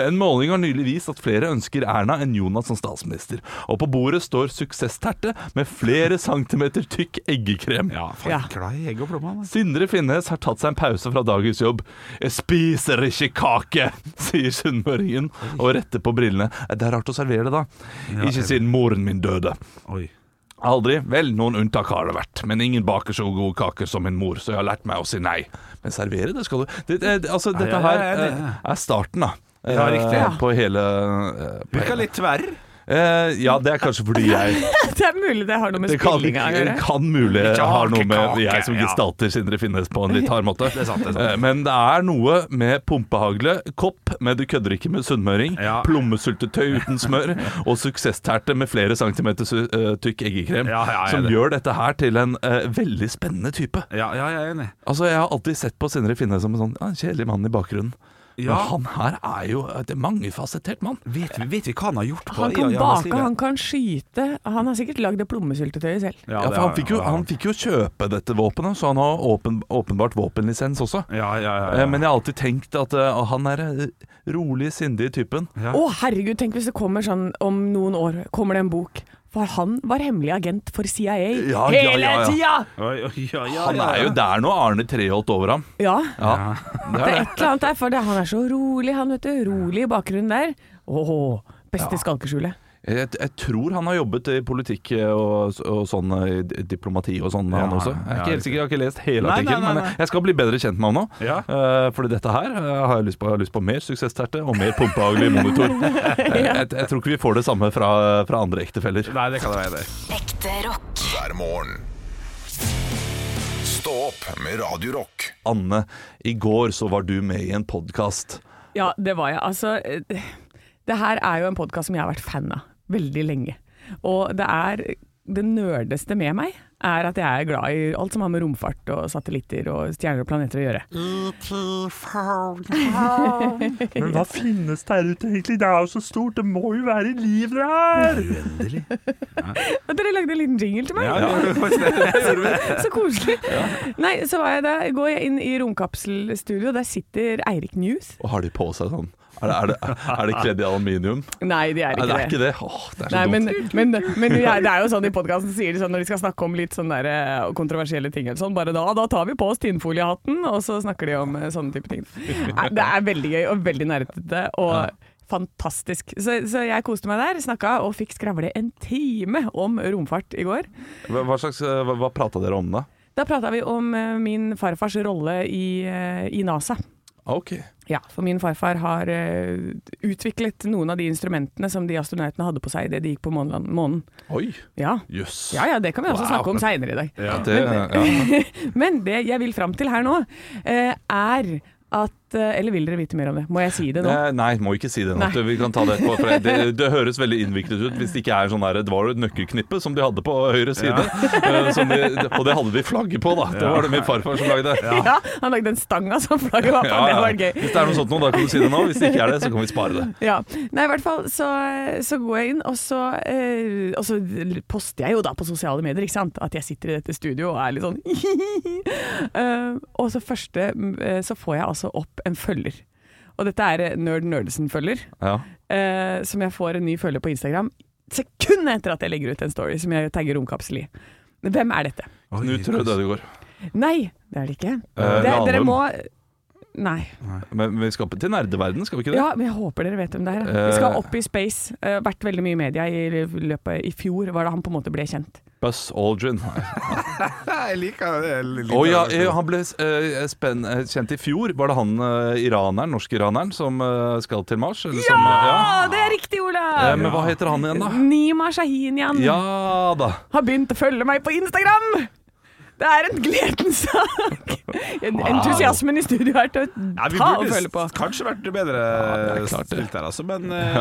C: <laughs> en måling har nylig vist at flere ønsker Erna enn Jonas som statsminister. Og på bordet står suksessterte med flere centimeter tykk eggekrem.
D: Ja, faen,
E: Ja.
D: glad i egg og plomme. han, da.
C: Sindre Finnes har tatt seg en pause fra dagens jobb. 'Jeg spiser ikke kake', <laughs> sier sunnmøringen og retter på brillene. Eh, Det er rart å servere det, da. Ikke siden moren min døde.
D: altså. Oi.
C: Aldri. Vel, noen unntak har det vært, men ingen baker så gode kaker som min mor, så jeg har lært meg å si nei. Men servere det skal du det, det, det- Altså, dette
D: ja,
C: her
D: ja, det-
C: eh, er starten, da.
D: Ja,
C: Eh,
D: riktig.
C: På hele eh, på
D: Virka
C: hele-
D: litt tverr.
C: Eh, Ja, det er kanskje
D: <laughs>
C: fordi jeg
E: <laughs> Det er mulig det har noe med
C: Det kan,
E: spillinga å gjøre.
C: kan mulig
D: Ikke
C: ha noe med
D: hakekake,
C: jeg som
D: ja.
C: gestalter Sindre Finnes på en litt hard måte.
D: <laughs> Det er sant, det er sant.
C: Eh, Men det er noe med pumpehagle, kopp med du kødder ikke med sunnmøring,
D: Ja.
C: plommesyltetøy uten
D: <laughs>
C: smør og suksessterte med flere centimeter su- eh, tykk eggekrem
D: Ja, ja, jeg er
C: som
D: enig.
C: gjør dette her til en eh, veldig spennende type.
D: Ja, ja, jeg er enig.
C: Altså, Jeg har alltid sett på Sindre Finnes som en sånn ja, en kjedelig mann i bakgrunnen.
D: Ja.
C: Men han her er jo et mangefasettert mann.
D: Vet vi, vet vi hva han har gjort? På,
E: Han
D: i-
E: kan
D: i hans liv,
E: bake,
D: ja?
E: han kan skyte. Han har sikkert lagd det plommesyltetøyet selv.
C: Ja, for han fikk, jo, han fikk jo kjøpe dette våpenet, så han har åpen, åpenbart våpenlisens også.
D: Ja, ja, ja.
C: Eh,
D: ja.
C: Men jeg har alltid tenkt at eh, han er eh, rolig, sindig typen.
E: Å herregud, tenk hvis det kommer sånn om noen år, kommer det en bok. For han var hemmelig agent for CIA
C: Ja, ja,
E: hele
C: ja, ja.
E: tida!
D: Oi, oi, ja, ja,
C: Han
D: ja,
C: er
D: ja.
C: jo der nå, Arne Treholt over ham.
E: Ja,
C: Ja, det er
E: det er
C: det.
E: et eller annet der, for det, han er så rolig, han vet du. Rolig i bakgrunnen der. Åh, beste skalkeskjulet.
C: Jeg, jeg tror han har jobbet i politikk eh, og, og sånn eh, i di- diplomati og sånn, han
D: Ja,
C: også. Jeg er
D: ja,
C: ikke helt sikker, jeg har ikke lest
D: Nei,
C: hele
D: nei,
C: artikkelen,
D: nei,
C: men
D: nei.
C: jeg- jeg skal bli bedre kjent med han nå.
D: Ja.
C: Eh, Fordi dette her eh, har jeg lyst på. Jeg har lyst på mer suksessterte og mer pumpehagelig monitor.
D: <laughs>
C: Eh, Jeg, jeg tror ikke vi får det samme fra, fra andre ektefeller.
D: Nei, det kan det være. det.
G: Ekte rock.
B: hver morgen. Stå opp med Radio Rock.
C: Anne, i går så var du med i en podkast.
E: Ja, det var jeg. Altså, eh, det her er jo en podkast som jeg har vært fan av veldig lenge. Og det er det nerdeste med meg er at jeg er glad i alt som har med romfart og satellitter og stjerner og planeter å gjøre.
C: Men hva finnes der ute egentlig? Det er jo så stort, det må jo være liv der!
D: Uendelig.
E: Og dere lagde en liten jingle til meg.
D: Ja, ja.
E: <laughs> Så koselig. Nei, så var jeg der, går jeg inn i romkapselstudio, og der sitter Eirik News.
C: Og har de på seg sånn? Er det, er det, er det kledd i aluminium?
E: Nei, de er
C: Nei, det
E: ikke det.
C: er ikke det. Åh, det er så
E: Nei, men,
C: dumt.
E: men, men ja, det er jo sånn i podkasten sier de sånn når de skal snakke om litt sånn der, eh, kontroversielle ting eller sånn, bare da, da tar vi på oss tinnfoliehatten, og så snakker de om eh, sånne type ting. Nei, Det er veldig gøy og veldig nerdete og fantastisk. Så, så jeg koste meg der, snakka og fikk skravle en time om romfart i går.
C: Hva, hva slags, eh, hva, hva prata dere om da?
E: Da prata vi om eh, min farfars rolle i, eh, i NASA.
C: Ah, Ok.
E: Ja, for min farfar har eh, utviklet noen av de instrumentene som de astronautene hadde på seg idet de gikk på måneland- månen.
C: Oi,
E: Ja.
C: jøss.
E: ja ja, det kan vi også
C: Wow.
E: snakke om seinere i dag.
C: Ja, det, ja.
E: Men det jeg vil fram til her nå, eh, er at eh, Eller vil dere vite mer om det? Må jeg si det nå?
C: Eh, Nei, må ikke si det nå.
E: Nei.
C: Du, Vi kan ta det etterpå. For det, det høres veldig innviklet ut hvis det ikke er sånn der Det var jo et nøkkelknippe som de hadde på høyre side. eh, Som de, og det hadde de flagget på, da. Det var det min farfar som lagde.
E: <laughs> Ja. han lagde en stang av sånn flagg,
C: Ja,
E: og det
C: ja.
E: var gøy.
C: Hvis det er noe sånt nå, da kan du si det nå. Hvis det ikke er det, så kan vi spare det.
E: Ja. Nei, i hvert fall så, så går jeg inn, og så, eh, og så poster jeg jo da på sosiale medier, ikke sant? At jeg sitter i dette studioet og er litt sånn <laughs> Eh, Og så første eh, så får jeg altså opp en følger. Og dette er eh, Nerd Nerdesen-følger,
C: Ja.
E: eh, som jeg får en ny følger på Instagram sekundet etter at jeg legger ut en story som jeg tagger romkapsel i. Hvem er dette?
C: Knut Rød Ødegård.
E: Nei, det er det ikke.
C: Eh,
E: Det, dere
C: Ranum.
E: må Nei.
C: Men vi skal til nerdeverden, skal vi ikke det? Eh.
E: Ja, men jeg håper dere vet hvem det er. da. Vi skal opp i space. Uh, vært veldig mye i media i løpet I fjor var det han på en måte ble kjent.
C: Buzz Aldrin.
D: <laughs> Jeg liker det. jeg liker
C: Å ja,
D: det.
C: eh, han ble eh, spenn, eh, kjent i fjor. Var det han eh, iraneren, norsk-iraneren, som eh, skal til Mars? Eller som, eh,
E: det er riktig,
C: ja. Eh,
E: Olav!
C: Men hva heter han igjen, da?
E: Nima Shahinian
C: Ja da.
E: har begynt å følge meg på Instagram! Det er en gledens sak! En- Entusiasmen i studio er til
D: Nei,
E: å
D: vi
E: ta og
D: burde
E: følge på.
D: s- kanskje vært bedre
C: det er klart det.
D: stilt der, altså. Men eh,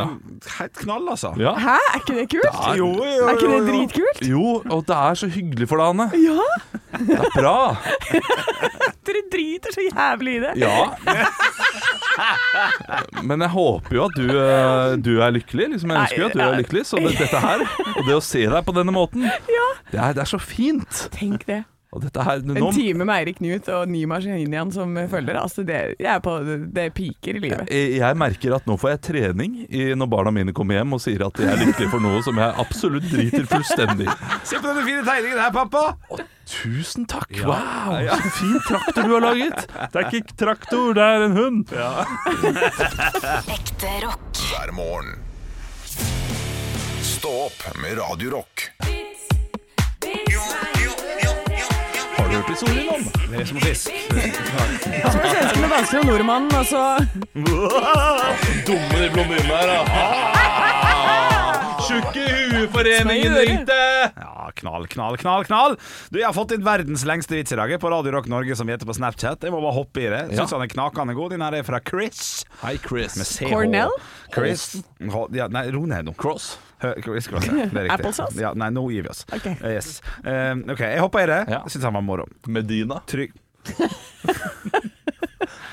D: helt knall, altså.
C: Ja.
E: Hæ, er ikke det kult?
D: Jo, jo, jo,
E: Er ikke det
D: jo.
E: dritkult?
C: Jo, og det er så hyggelig for deg, Anne.
E: Ja!
C: Det er bra.
E: Dere driter så jævlig i det.
C: Ja. Men jeg håper jo at du, eh, du er lykkelig. Liksom, jeg ønsker jo at du er lykkelig. Så det, dette her, og det å se deg på denne måten, det er, det er så fint.
E: Tenk det.
C: Og dette her, nå,
E: En time med Eirik Knut og Nima Shahinian som følger. Altså det, jeg er på, det piker i livet.
C: jeg Eh, jeg merker at nå får jeg trening i når barna mine kommer hjem og sier at de er lykkelig for noe som jeg absolutt driter fullstendig i.
D: Se på denne fine tegningen her, pappa!
C: Tusen takk! Wow, så fin traktor du har laget! Det er ikke traktor, det er en hund!
G: Ekte rock.
B: hver morgen. Stå opp med Radio Rock.
C: Har du hørt historien om?
D: Det er som fisk.
E: Spør svenskene, danskene og nordmannen, og så
C: Dumme de blondinene her, da! Tjukke hueforeningen ringte!
D: Ja, knall, knall, knall, knall. Du, Jeg har fått inn verdens lengste vits i dag eh, på Radio Rock Norge, som vi heter på Snapchat. Jeg må bare hoppe i det. Syns han er knakende god. Den her er fra Chris.
C: Hei, Chris.
D: Med CH.
E: Cornell?
D: Chris. Hol- Ja, nei, ro ned nå.
C: Cross.
D: Hø- Chris Cross, ja. Det er riktig.
E: Applesauce?
D: Ja, nei, nå gir vi oss.
E: Ok.
D: Eh, Yes. Eh, ok, jeg hopper i det.
C: Ja.
D: Syns han var moro.
C: Medina.
D: Trygg.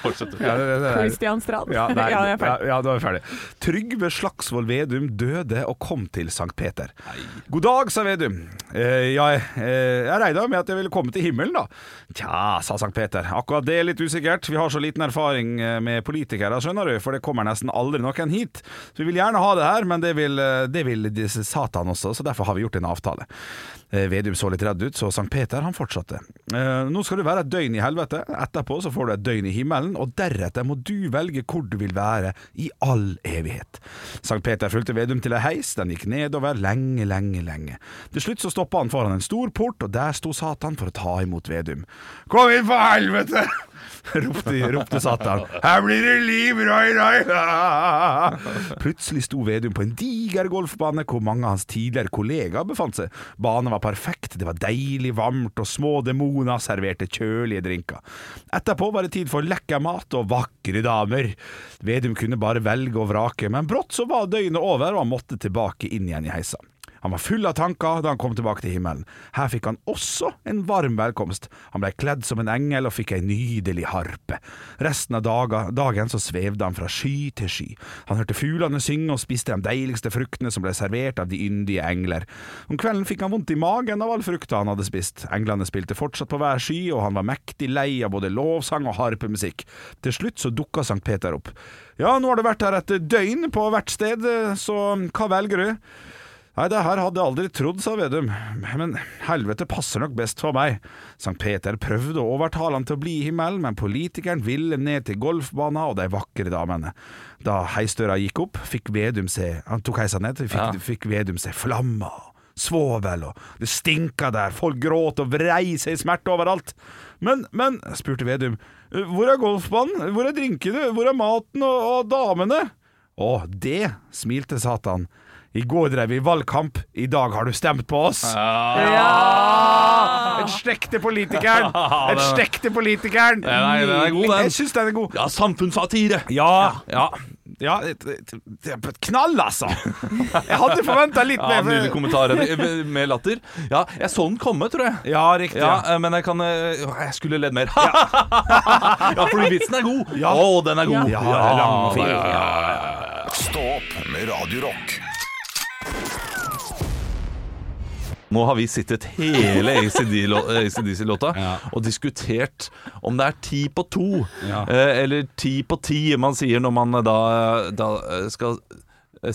C: Fortsett.
D: Ja, det, det, det, det.
E: Christian Strand. <laughs>
D: Ja, nei,
E: jeg
D: ja,
E: er ferdig.
D: ja, da er vi ferdig. Trygve Slagsvold Vedum døde og kom til Sankt Peter. God dag, sa Vedum. Eh, jeg eh, jeg regna med at jeg ville komme til himmelen, da. Tja, sa Sankt Peter. Akkurat det er litt usikkert. Vi har så liten erfaring eh, med politikere, skjønner du, for det kommer nesten aldri noen hit. Så vi vil gjerne ha det her, men det vil, eh, det vil disse Satan også, så derfor har vi gjort en avtale. Eh, Vedum så litt redd ut, så Sankt Peter han fortsatte. Eh, nå skal du være et døgn i helvete, etterpå så får du et døgn i himmelen, og deretter må du velge hvor du vil være i all evighet. Sankt Peter fulgte Vedum til ei heis, den gikk nedover lenge, lenge, lenge. Til slutt så stoppa han foran en stor port, og der sto Satan for å ta imot Vedum. Kom inn for helvete! <laughs> ropte, ropte Satan. Her blir det liv, roi, roi! Plutselig sto Vedum på en diger golfbane hvor mange av hans tidligere kollegaer befant seg. Banen var perfekt, det var deilig varmt, og små demoner serverte kjølige drinker. Etterpå var det tid for lekker mat og vakre damer. Vedum kunne bare velge og vrake, men brått så var døgnet over, og han måtte tilbake inn igjen i heisa. Han var full av tanker da han kom tilbake til himmelen. Her fikk han også en varm velkomst. Han ble kledd som en engel og fikk ei nydelig harpe. Resten av daga, dagen så svevde han fra sky til sky. Han hørte fuglene synge og spiste de deiligste fruktene som ble servert av de yndige engler. Om kvelden fikk han vondt i magen av all frukta han hadde spist. Englene spilte fortsatt på hver sky, og han var mektig lei av både lovsang og harpemusikk. Til slutt så dukka Sankt Peter opp. Ja, nå har du vært her et døgn på hvert sted, så hva velger du? Nei, det her hadde jeg aldri trodd, sa Vedum, men helvete passer nok best for meg. Sankt Peter prøvde å overtale han til å bli i himmelen, men politikeren ville ned til golfbanen og de vakre damene. Da heisdøra gikk opp, fikk Vedum se Han tok heisa ned, fikk,
C: Ja.
D: fikk Vedum se flamma. Svovel, og det stinka der, folk gråt og vrei seg i smerte overalt. Men, men, spurte Vedum, «Eh, hvor er golfbanen, hvor er drinkene, hvor er maten og, og damene? Å, det, smilte Satan. I går drev vi valgkamp, i dag har du stemt på oss. Ja! Et slekk til
C: <laughs>
D: politikeren! Et slekk til politikeren!
C: Den er- den er god, den.
D: Jeg syns den er god.
C: Ja, samfunnsfatire!
D: Ja. ja. et, et, et knall, altså! Jeg hadde forventa litt
C: Ja, Nydelig
D: mer.
C: kommentar Eddie, med latter. Ja, jeg så den komme, tror jeg.
D: Ja, riktig.
C: Ja,
D: Ja.
C: eh, men jeg kan eh, å, Jeg skulle ledd mer. <laughs> Ja, fordi vitsen er god. Å, den er god.
D: Ja, det er lang og fin.
C: eh, ja, ja, ja.
B: Stå opp med Radio Rock.
C: Nå har vi sittet hele eh, ACDC-låta og diskutert om det er ti på to, eh, eller ti på ti man sier når man eh, da, da eh, skal eh,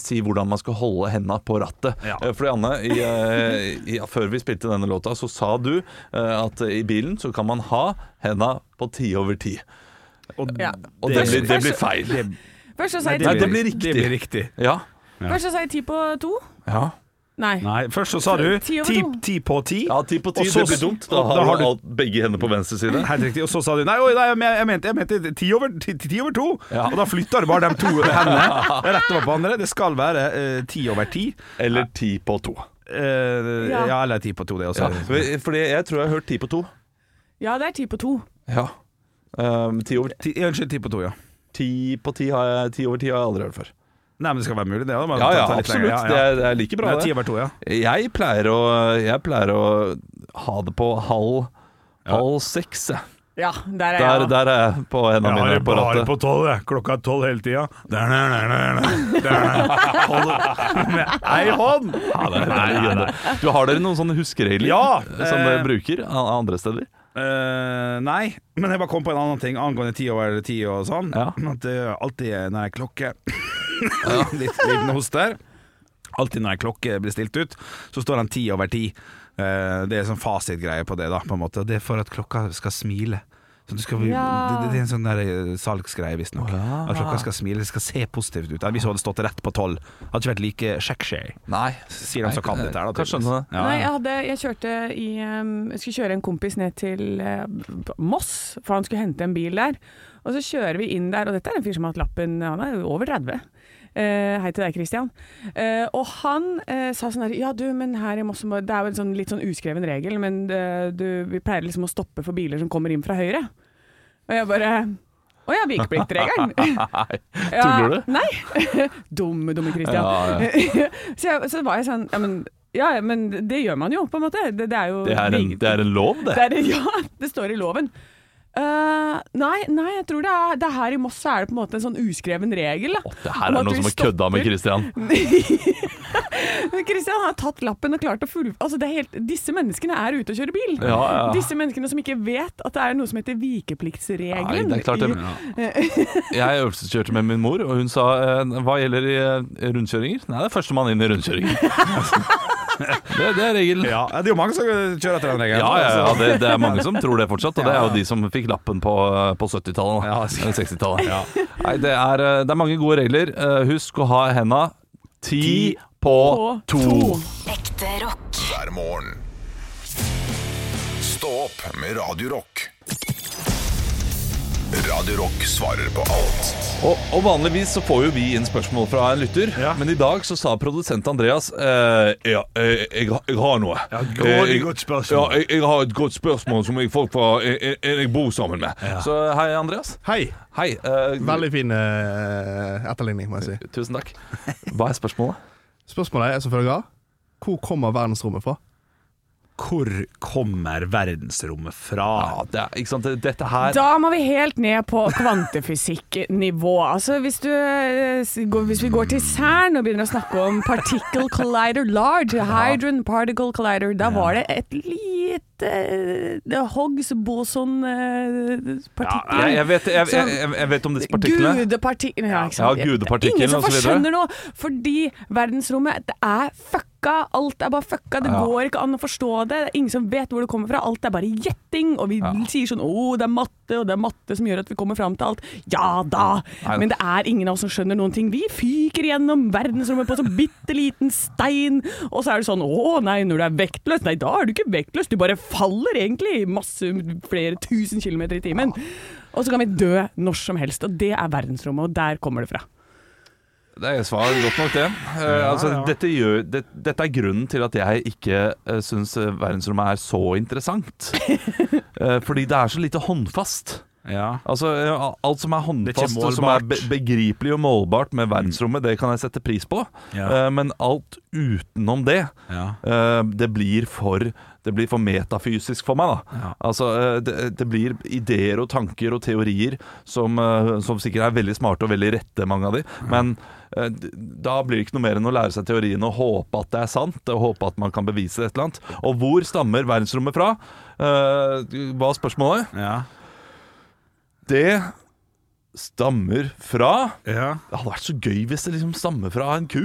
C: Si hvordan man skal holde henda på rattet.
H: Ja.
C: Eh, Fordi Anne, i, eh, i, ja, før vi spilte denne låta, så sa du eh, at i bilen så kan man ha henda på ti over ti.
E: Ja.
C: Og det
E: Først-
C: blir, det blir
E: først-
C: feil.
E: Først så sa jeg
C: Nei,
E: ti-
C: det blir riktig.
H: Det blir riktig.
C: Ja.
E: først så sa jeg ti på to.
C: Ja.
E: Nei.
H: Nei, først så sa du ti,
E: Ti over to.
H: ti på ti.
C: ja, ti på
H: Og
C: ti.
H: så-
C: Det blir dumt. Da
H: og
C: har, du alt, begge hendene på venstre side.
D: Helt riktig. Og så sa du nei, oi, nei jeg men- jeg mente, jeg mente ti, over, ti, ti over to.
C: Ja.
D: Og da flytta du bare de to
C: <laughs>
D: hendene rett over på andre. Det skal være eh, ti over ti.
C: Eller ti på to.
D: Eh,
E: Ja.
D: ja. eller ti på to, det også.
C: Ja, fordi jeg tror jeg har hørt ti på to.
E: Ja, det er ti på to.
C: Ja. Um, ti, over,
D: Ti, unnskyld, ti på to, ja.
C: ti på ti, har jeg, ti over ti har jeg aldri hørt før.
D: Nei, men det skal være mulig, det. Da. Man
C: Ja,
D: kan
C: ja,
D: ta litt lenger.
C: absolutt. Det, er, det er like bra,
D: Det er ti
C: det.
D: over to, ja.
C: Jeg pleier å, jeg pleier å ha det på halv Halv seks, jeg.
E: Ja, der er
C: Der,
E: jeg.
C: der er jeg på
H: Jeg
C: hendene
H: har
C: mine
H: det
C: på
H: bare
C: rattet.
H: på tolv, jeg. Klokka er tolv hele tida. Der, der, der, der,
C: <laughs>
H: der, der. Hold- Med ei hånd!
C: Ja, det er- det er legende. Du Har dere noen sånne huskeregler
D: Ja,
C: som dere
D: eh,
C: bruker a- andre steder?
D: Eh, nei, men jeg bare kom på en annen ting angående ti over ti og sånn.
C: Ja.
D: <laughs> At det er alltid når ei
C: <laughs>
D: klokke <laughs> Litt liten host der. Alltid når ei klokke blir stilt ut, så står den ti over ti. Eh, det er sånn fasitgreie på det, da. På en måte. Det er for at klokka skal smile. Så du skal,
E: Ja.
D: det, det er en sånn der eh, salgsgreie, visstnok. At klokka skal smile, det skal se positivt ut. Hvis hun hadde stått rett på tolv, hadde ikke vært like sexy.
C: Nei. sånn,
D: Sier de som kan dette her, da.
C: Kan skjønne det.
D: tydeligvis. Ja,
E: Nei,
D: ja.
E: jeg, hadde, jeg kjørte i um, Jeg skulle kjøre en kompis ned til eh, Moss, for han skulle hente en bil der. Og så kjører vi inn der, og dette er en fyr som har hatt lappen Han er jo over 30. Eh, hei til deg, Christian. Eh, og han eh, sa sånn her Ja, du, men her i Moss må- Det er jo en sånn, litt sånn uskreven regel, men eh, du, vi pleier liksom å stoppe for biler som kommer inn fra høyre. Og jeg bare Å ja, vikepliktregelen.
C: <laughs> Nei.
E: Ja,
C: Tuller du?
E: Nei. <laughs> dumme, dumme Christian.
C: Ja,
E: så, jeg, så var jeg sånn ja men, ja, ja, men det gjør man jo, på en måte. Det, det er jo
C: Det er en,
E: vik-
C: det er en lov, det.
E: <laughs> det er- Ja, det står i loven. Eh, nei, nei, jeg tror det er, det er her i Moss så er det på en måte en sånn uskreven regel. Da,
C: Det her er
E: om at
C: noen
E: vi
C: som har kødda med
E: stopper.
C: Christian.
E: Men Christian har tatt lappen og klart å fullføre altså, det er helt- Disse menneskene er ute og kjører bil.
C: Ja, ja.
E: Disse menneskene som ikke vet at det er noe som heter
C: Nei,
E: vikepliktsregelen.
C: det er klart det. <laughs> Jeg øvelseskjørte med min mor, og hun sa eh, hva gjelder i eh, rundkjøringer? Nei, det er førstemann inn i rundkjøringer. det, det er regelen. Ja.
D: ja, altså. det er jo mange som kjører etter den regelen.
C: Ja, ja,
D: så-
C: det, det er mange som tror det fortsatt, og det er jo de som fikk lappen på, eh, på 70-tallet. da.
D: Ja,
C: Eller 60-tallet. Nei, det er, eh, det er mange gode regler. Eh, Husk å ha henda ti på
E: På
C: to.
E: to.
G: Ekte rock.
B: hver morgen. Stå opp med Radio Rock. Radio Rock svarer på alt.
C: Og, og vanligvis så får jo vi inn spørsmål fra en lytter, men i dag så sa produsent Andreas eh, Ja, eh, jeg, har- jeg har noe.
H: Ja, grådig
C: Eh, jeg-
H: godt spørsmål.
C: Ja, jeg, jeg har et godt spørsmål som jeg får fra en en- en jeg bor sammen med. Så hei, Andreas.
I: Hei.
C: Hei. eh,
I: Veldig fin eh, etterligning, må jeg si.
C: Tusen takk. Hva er spørsmålet?
I: Spørsmålet er som følger.
J: Hvor kommer verdensrommet fra?
G: Hvor kommer verdensrommet fra?
C: Ja, det er, ikke sant? Dette her
E: Da må vi helt ned på kvantefysikknivå. Altså, hvis, du, eh, s- går- hvis vi går til CERN og begynner å snakke om particle collider large, hydron particle collider, da var det et lite eh, Hoggs eh,
C: ja,
E: boson-partikkel.
C: jeg, jeg, vet, jeg, jeg, jeg, jeg vet om disse partiklene.
E: Gudepartiklene. Ja, ikke
C: Ja,
E: sant?
C: gudepartiklene
E: Ingen som
C: og så videre.
E: forskjønner noe, fordi verdensrommet det er fucka. Alt er bare fucka, det
C: Ja.
E: går ikke an å forstå det. det er ingen som vet hvor det kommer fra. Alt er bare gjetting. Og vi sier sånn 'Å, det er matte, og det er matte som gjør at vi kommer fram til alt'. Ja da!
C: Nei da.
E: Men det er ingen av oss som skjønner noen ting. Vi fyker gjennom verdensrommet på en sånn bitte liten stein, og så er det sånn 'Å nei, når du er vektløs'. Nei, da er du ikke vektløs, du bare faller egentlig masse flere tusen kilometer i timen. Og så kan vi dø når som helst, og det er verdensrommet, og der kommer det fra.
C: Det er svar godt nok, det. Eh, altså, Dette, gjør, det, dette er grunnen til at jeg ikke uh, syns verdensrommet er så interessant. Eh, fordi det er så lite håndfast.
G: Ja.
C: Altså, eh, alt som er
G: Det er
C: håndfast
G: ikke
C: og som er
G: målbart. Mm.
C: be begripelig og målbart med verdensrommet, det kan jeg sette pris på.
G: Ja.
C: Eh, men alt utenom det,
G: Ja.
C: eh, det blir for det blir for metafysisk for meg. da
G: Ja.
C: Altså, eh, det, det blir ideer og tanker og teorier som, eh, som sikkert er veldig smarte og veldig rette, mange av de. Men eh, d- da blir det ikke noe mer enn å lære seg teorien og håpe at det er sant. Og håpe at man kan bevise et eller annet. Og hvor stammer verdensrommet fra? Eh, hva er spørsmålet?
G: Ja.
C: Det stammer fra
G: ja.
C: Det hadde vært så gøy hvis det liksom stammer fra en ku.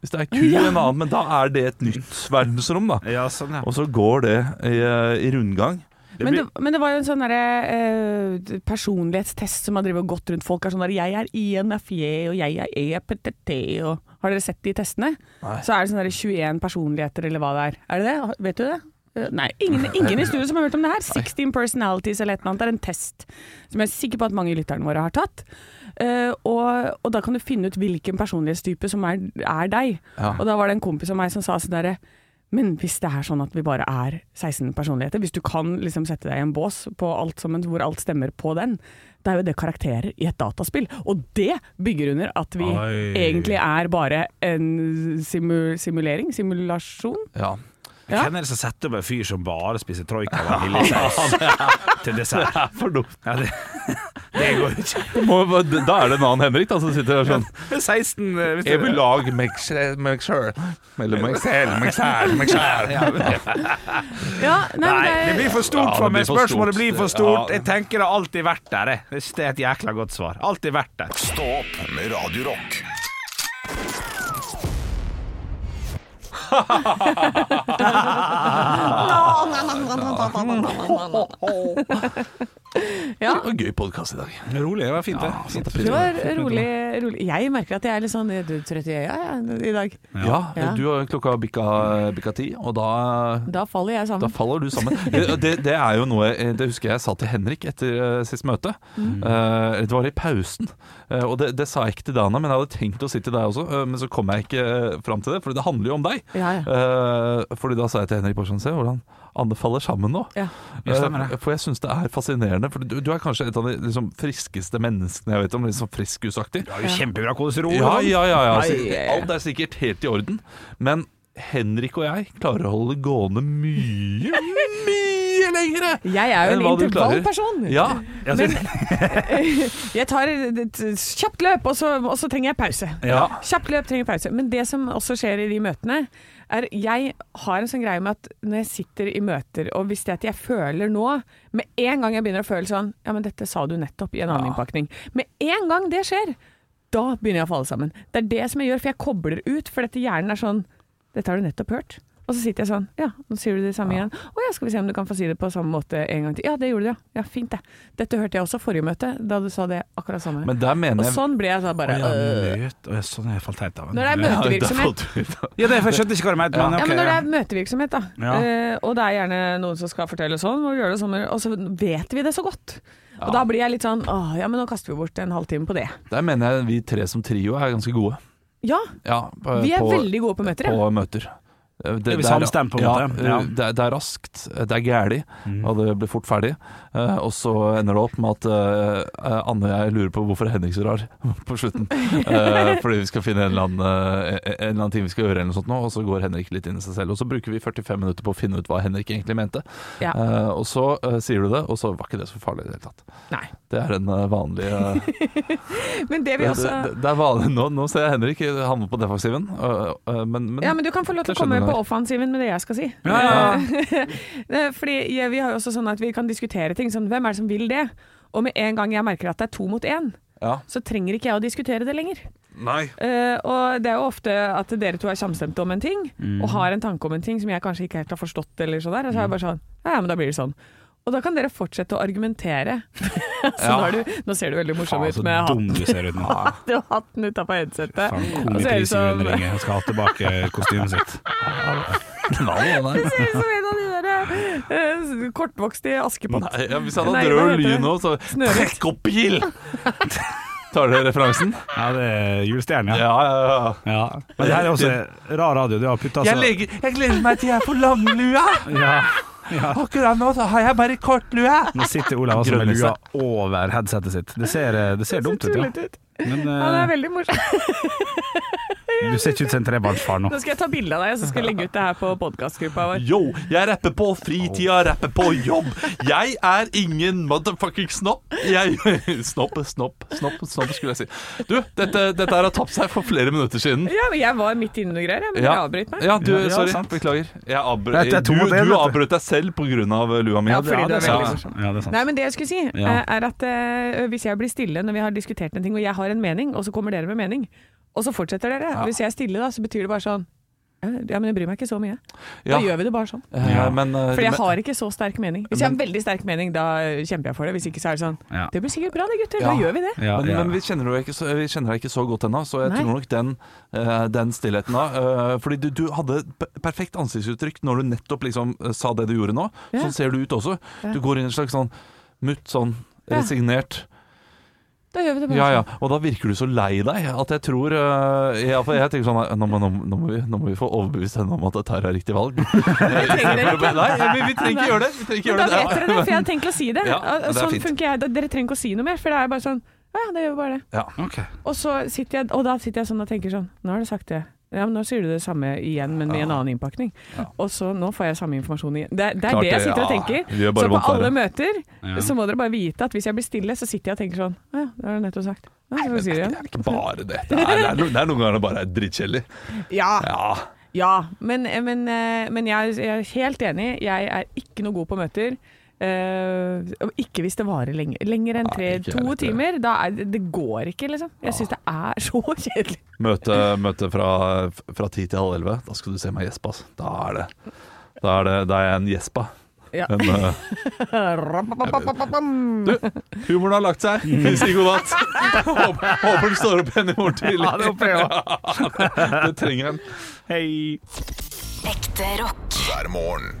C: Hvis det er ku i en annen, men da er det et nytt verdensrom, da.
G: Ja, sånn, ja.
C: Og så går det i, eh, i rundgang.
G: Det
E: Men
G: blir,
E: det, men det var jo en sånn derre, eh, personlighetstest som har drevet og gått rundt folk. Er sånn der, 'Jeg er INFJ, og jeg er e, EPTT', og Har dere sett de testene?
C: Nei.
E: Så er det sånn derre 21 personligheter, eller hva det er. Er det det? Har- Vet du det? Eh, Nei, ingen, ingen i studio som har hørt om det her. 16 personalities eller et eller annet. Det er en test som jeg er sikker på at mange av lytterne våre har tatt. Eh, og, og da kan du finne ut hvilken personlighetstype som er, er deg. Og da var det en kompis av meg som sa sånn derre men hvis det er sånn at vi bare er 16 personligheter, hvis du kan liksom sette deg i en bås på alt sammen, hvor alt stemmer på den, det er jo det karakterer i et dataspill. Og det bygger under at vi
G: Oi.
E: egentlig er bare en simu simulering, simulasjon.
C: Ja.
E: Ja.
G: Hvem er det som setter opp en fyr som bare spiser troika og
C: <laughs>
G: vaniljesaus til dessert?
C: For dumt.
G: Ja, det, <laughs> det går jo
C: <laughs>
G: ikke.
C: Må, da er det en annen Henrik da, som sitter der sånn
G: 16 eh, hvis
C: Jeg
G: du-
C: vil lage meg selv meg selv. Eller meg selv, meg selv, meg selv.
E: Ja, nei, men
G: Nei, det blir for stort
C: Ja,
G: for
C: det
G: meg.
C: blir for
G: Spørsmålet
C: stort.
G: blir for stort.
C: Ja.
G: Jeg tenker det har alltid vært der. jeg. Jeg synes Det er et jækla godt svar. Alltid vært der.
B: Stå opp med Radio Rock.
E: ja.
C: Det var en gøy podkast i dag.
G: Rolig, det var fint, det.
E: Det var rolig, rolig. Jeg merker at jeg er litt sånn eh, du, trøtt i øya jeg, i dag.
C: Ja,
E: Ja.
C: du har klokka bikka, bikka ti, og da
E: Da faller jeg
C: da
E: sammen.
C: faller du
E: <laughs>
C: sammen. Det, det, det er jo noe eh, Det husker jeg sa til Henrik etter eh, sist møte.
E: Mm.
C: Eh, det var i pausen. Eh, og det, det sa jeg ikke til Dana, men jeg hadde tenkt å si til deg også. eh, men så kom jeg ikke uh, fram til det, for det handler jo om deg.
E: Ja, ja.
C: Eh, fordi da sa jeg til Henrik Borsson, se hvordan Anne faller sammen nå.
E: Ja.
G: Ja, stemmer det.
C: Eh, For jeg syns det er fascinerende. For du, du er kanskje et av de liksom, friskeste menneskene jeg vet om. Litt sånn friskusaktig.
G: Det var jo kjempebra kolesterol.
C: Ja, ja, ja. ja.
E: Nei.
C: Så alt er sikkert helt i orden. Men Henrik og jeg klarer å holde det gående mye, mye lengre!
E: Jeg
C: enn
E: er jo
C: Eh,
E: en
C: hva du klarer.
E: intervallperson.
C: Ja.
E: Men <laughs> jeg tar et kjapt løp, og så, og så trenger jeg pause.
C: Ja.
E: Kjapt løp trenger pause. Men det som også skjer i de møtene, er jeg har en sånn greie med at når jeg sitter i møter, og hvis det er at jeg føler nå Med en gang jeg begynner å føle sånn Ja, men dette sa du nettopp i en annen innpakning. Med en gang det skjer, da begynner jeg å falle sammen. Det er det som jeg gjør, for jeg kobler ut, for dette hjernen er sånn Dette har du nettopp hørt. Og så sitter jeg sånn Ja, nå sier du det samme igjen. Å ja, skal vi se om du kan få si det på samme måte en gang til. Ja, det gjorde du, ja. Ja, fint det. Dette hørte jeg også forrige møte, da du sa det akkurat samme.
C: Men der mener
E: og
C: jeg
E: sånn ble jeg da bare
G: Ja,
E: øh.
G: møt. Å, ja, Sånn er jeg falt helt av.
E: Når det er
C: Ja, <laughs> der
E: møtevirksomhet.
C: falt du ut av-
G: Ja, det, for jeg skjønte ikke hva du mente, men
E: Ja,
G: ok.
E: men når det
G: ja.
E: er møtevirksomhet, da,
G: Ja.
E: eh, og det er gjerne noen som skal fortelle sånn, og, vi gjør det sånn, og så vet vi det så godt. Og da blir jeg litt sånn åh, ja, men nå kaster vi bort en halvtime på det.
C: Der mener jeg vi tre som trio er ganske gode.
E: Ja,
C: Ja, på,
E: vi er
C: på-
E: veldig gode på møter, ja.
C: På møter. Eh,
D: Det er vi samstemt på en
C: ja,
D: måte, ja. Mm.
C: eh, Det, er- det er raskt, eh, det er gæli, og det blir fort ferdig. Eh, og så ender det opp med at eh, eh, Anne og jeg lurer på hvorfor Henrik så rar <laughs> på slutten. Eh, fordi vi skal finne en eller, annen, eh, en eller annen ting vi skal gjøre, eller noe sånt nå, og så går Henrik litt inn i seg selv. Og så bruker vi 45 minutter på å finne ut hva Henrik egentlig mente.
E: Ja.
C: Eh, og så eh, sier du det, og så var ikke det så farlig i det hele tatt.
E: Nei.
C: Det er den eh, vanlige
E: <laughs> Men det
C: det,
E: vi
C: det,
E: også
C: det er vanlig nå. Nå ser jeg Henrik havne på defensiven, øh, øh, men, men,
E: Ja, men Du kan få lov til
C: Det
E: å komme
C: skjønner
E: på
C: jeg.
E: offensiven med det jeg skal si.
D: Ja, ja,
E: <laughs> Eh, Fordi ja, Vi har jo også sånn at vi kan diskutere ting. Sånn, hvem er det som vil det? Og med en gang jeg merker at det er to mot én,
C: Ja.
E: så trenger ikke jeg å diskutere det lenger.
B: Nei.
E: Eh, og det er jo ofte at dere to er samstemte om en ting,
D: Mm.
E: og har en tanke om en ting som jeg kanskje ikke helt har forstått, eller sånn der. Og så er jeg bare sånn Ja, ja, men da blir det sånn. Og da kan dere fortsette å argumentere. <laughs> så nå,
C: Ja.
E: er du, nå ser du veldig morsom
D: Faen,
E: ut
D: så dum
E: med hatten.
D: du ser ut nå.
E: Du har hatten utapå headsetet.
D: Faen,
E: Og så er det
D: komiprisen
E: sånn- som-
D: Rune Ringe. Han skal ha tilbake kostymet sitt.
C: Nei, nei.
E: <laughs> Det ser ut som en av de der eh, kortvokste i Askepott.
C: Nei, ja, hvis jeg hadde
E: Nei,
C: hatt
E: hva
C: rød
E: heter
C: lyn
E: det?
C: nå, så
E: Snøhvit.
C: Trekk opp bil! <laughs> Tar dere referansen?
D: Ja, det er julestjernen, ja.
C: Ja, ja, Altså- ja.
D: ja. Men det her er også rar radio. Du har putta så-
C: gleder meg til jeg får langlua!
D: Ja.
C: Akkurat nå så har jeg bare kortlua!
D: Nå sitter Olav også med
C: Grønnliste.
D: lua over headsetet sitt. Det ser, eh, det ser dumt ut, ja.
E: Tullete ut.
D: Men
E: Ja, det er
D: eh,
E: veldig morsomt.
D: du ser ikke ut som en trebarnsfar nå.
E: Nå skal jeg ta bilde av deg, og så skal jeg legge ut det her på podkastgruppa vår.
C: Yo, jeg rapper på fritida, rapper på jobb. Jeg er ingen motherfucking snopp. Jeg <laughs> Snopp, snopp, snopp, snopp skulle jeg si. Du, dette, dette her har tapt seg for flere minutter siden.
E: Ja, men jeg var midt inne i noe greier, jeg, men dere avbryt meg.
C: ja, du,
D: Ja, ja,
C: sorry.
D: sant.
C: Beklager. Jeg avbrøt-
D: Dette er to mot en,
C: du,
D: vet
C: du
D: du.
C: avbrøt deg selv pga. eh, lua mi.
E: Ja, fordi det er
C: sant.
E: veldig morsomt.
D: Ja, det er sant.
E: Nei, men det jeg skulle si,
D: Ja.
E: eh, er at eh, hvis jeg blir stille når vi har diskutert en ting, og jeg har en mening, og så kommer dere med mening, og så fortsetter dere. Hvis jeg er stille da, så betyr det bare sånn ja, men jeg bryr meg ikke så mye.
C: Ja,
E: Da gjør vi det bare sånn.
C: eh, men, eh,
E: Fordi jeg
C: men-
E: har ikke så sterk mening. Hvis jeg har en veldig sterk mening, da eh, kjemper jeg for det. Hvis ikke så er det sånn
D: Ja.
E: Det blir sikkert bra det, gutter.
C: Ja.
E: Da gjør vi det.
D: Ja,
C: men,
D: ja.
C: men vi kjenner deg ikke så, vi kjenner deg ikke så godt ennå, så jeg
E: Nei.
C: tror nok den, eh, den stillheten da eh, Fordi du, du hadde p- perfekt ansiktsuttrykk når du nettopp liksom eh, sa det du gjorde nå.
E: Ja.
C: Sånn ser du ut også.
E: Ja.
C: Du går inn i en slags sånn mutt, sånn
E: Ja.
C: resignert.
E: Da gjør vi det bare
C: Ja ja.
E: sånn.
C: Og da virker du så lei deg at jeg tror eh, ja, for Jeg tenker sånn eh, nå må, nå, må- nå, må vi, nå må vi få overbevist henne om at dette her er riktig
E: <laughs>
C: valg. <laughs>
E: Jeg trenger dere ikke.
C: Nei, vi, vi trenger ikke gjøre det. Vi trenger ikke
E: Men
C: gjøre
E: da
C: det.
E: vet dere det, for jeg hadde tenkt å si det.
C: Ja,
E: Og- og
C: det er
E: sånn
C: fint.
E: funker jeg. Da- Dere trenger ikke å si noe mer, for det er bare sånn Ja, ja, da gjør vi bare det.
D: Ok.
E: Og, så sitter jeg, og da sitter jeg sånn og tenker sånn Nå har du sagt det. Ja, men Nå sier du det samme igjen, men med en annen innpakning. Og så nå får jeg samme informasjon igjen. Det, er- det er
C: Klart
E: det jeg
C: det,
E: sitter og
C: ja.
E: tenker.
C: Vi gjør bare
E: Så på
C: vondt verre.
E: alle møter
D: Ja.
E: så må dere bare vite at hvis jeg blir stille, så sitter jeg og tenker sånn «Å Ja, det har du nettopp sagt. Ja, så får du si det
C: Det
E: igjen.
C: er ikke bare det. Det er, det
E: <laughs>
C: er, no- det er noen ganger det bare er drittkjedelig.
E: Ja,
C: Ja.
E: ja. Men, men, eh, men jeg, er- jeg er helt enig. Jeg er ikke noe god på møter. Eh, og ikke hvis det varer lenger, lenger enn tre,
C: Nei, ikke jeg
E: to
C: heller.
E: timer. Da er, det- det går ikke, liksom. Jeg syns det er så <laughs> kjedelig.
C: Møte, møte fra, fra ti til halv elleve. Da skal du se meg gjespe, ass. Da er det Da er, det, da er jeg en gjespa.
E: Ja.
C: En, eh,
E: Rapapapapapam.
C: humoren har lagt seg. Vi sier god natt. Håper, håper du står opp igjen i morgen tidlig.
D: Ja, det håper jeg
C: Det trenger en.
D: Hei.
J: Ekte rock.
B: hver morgen.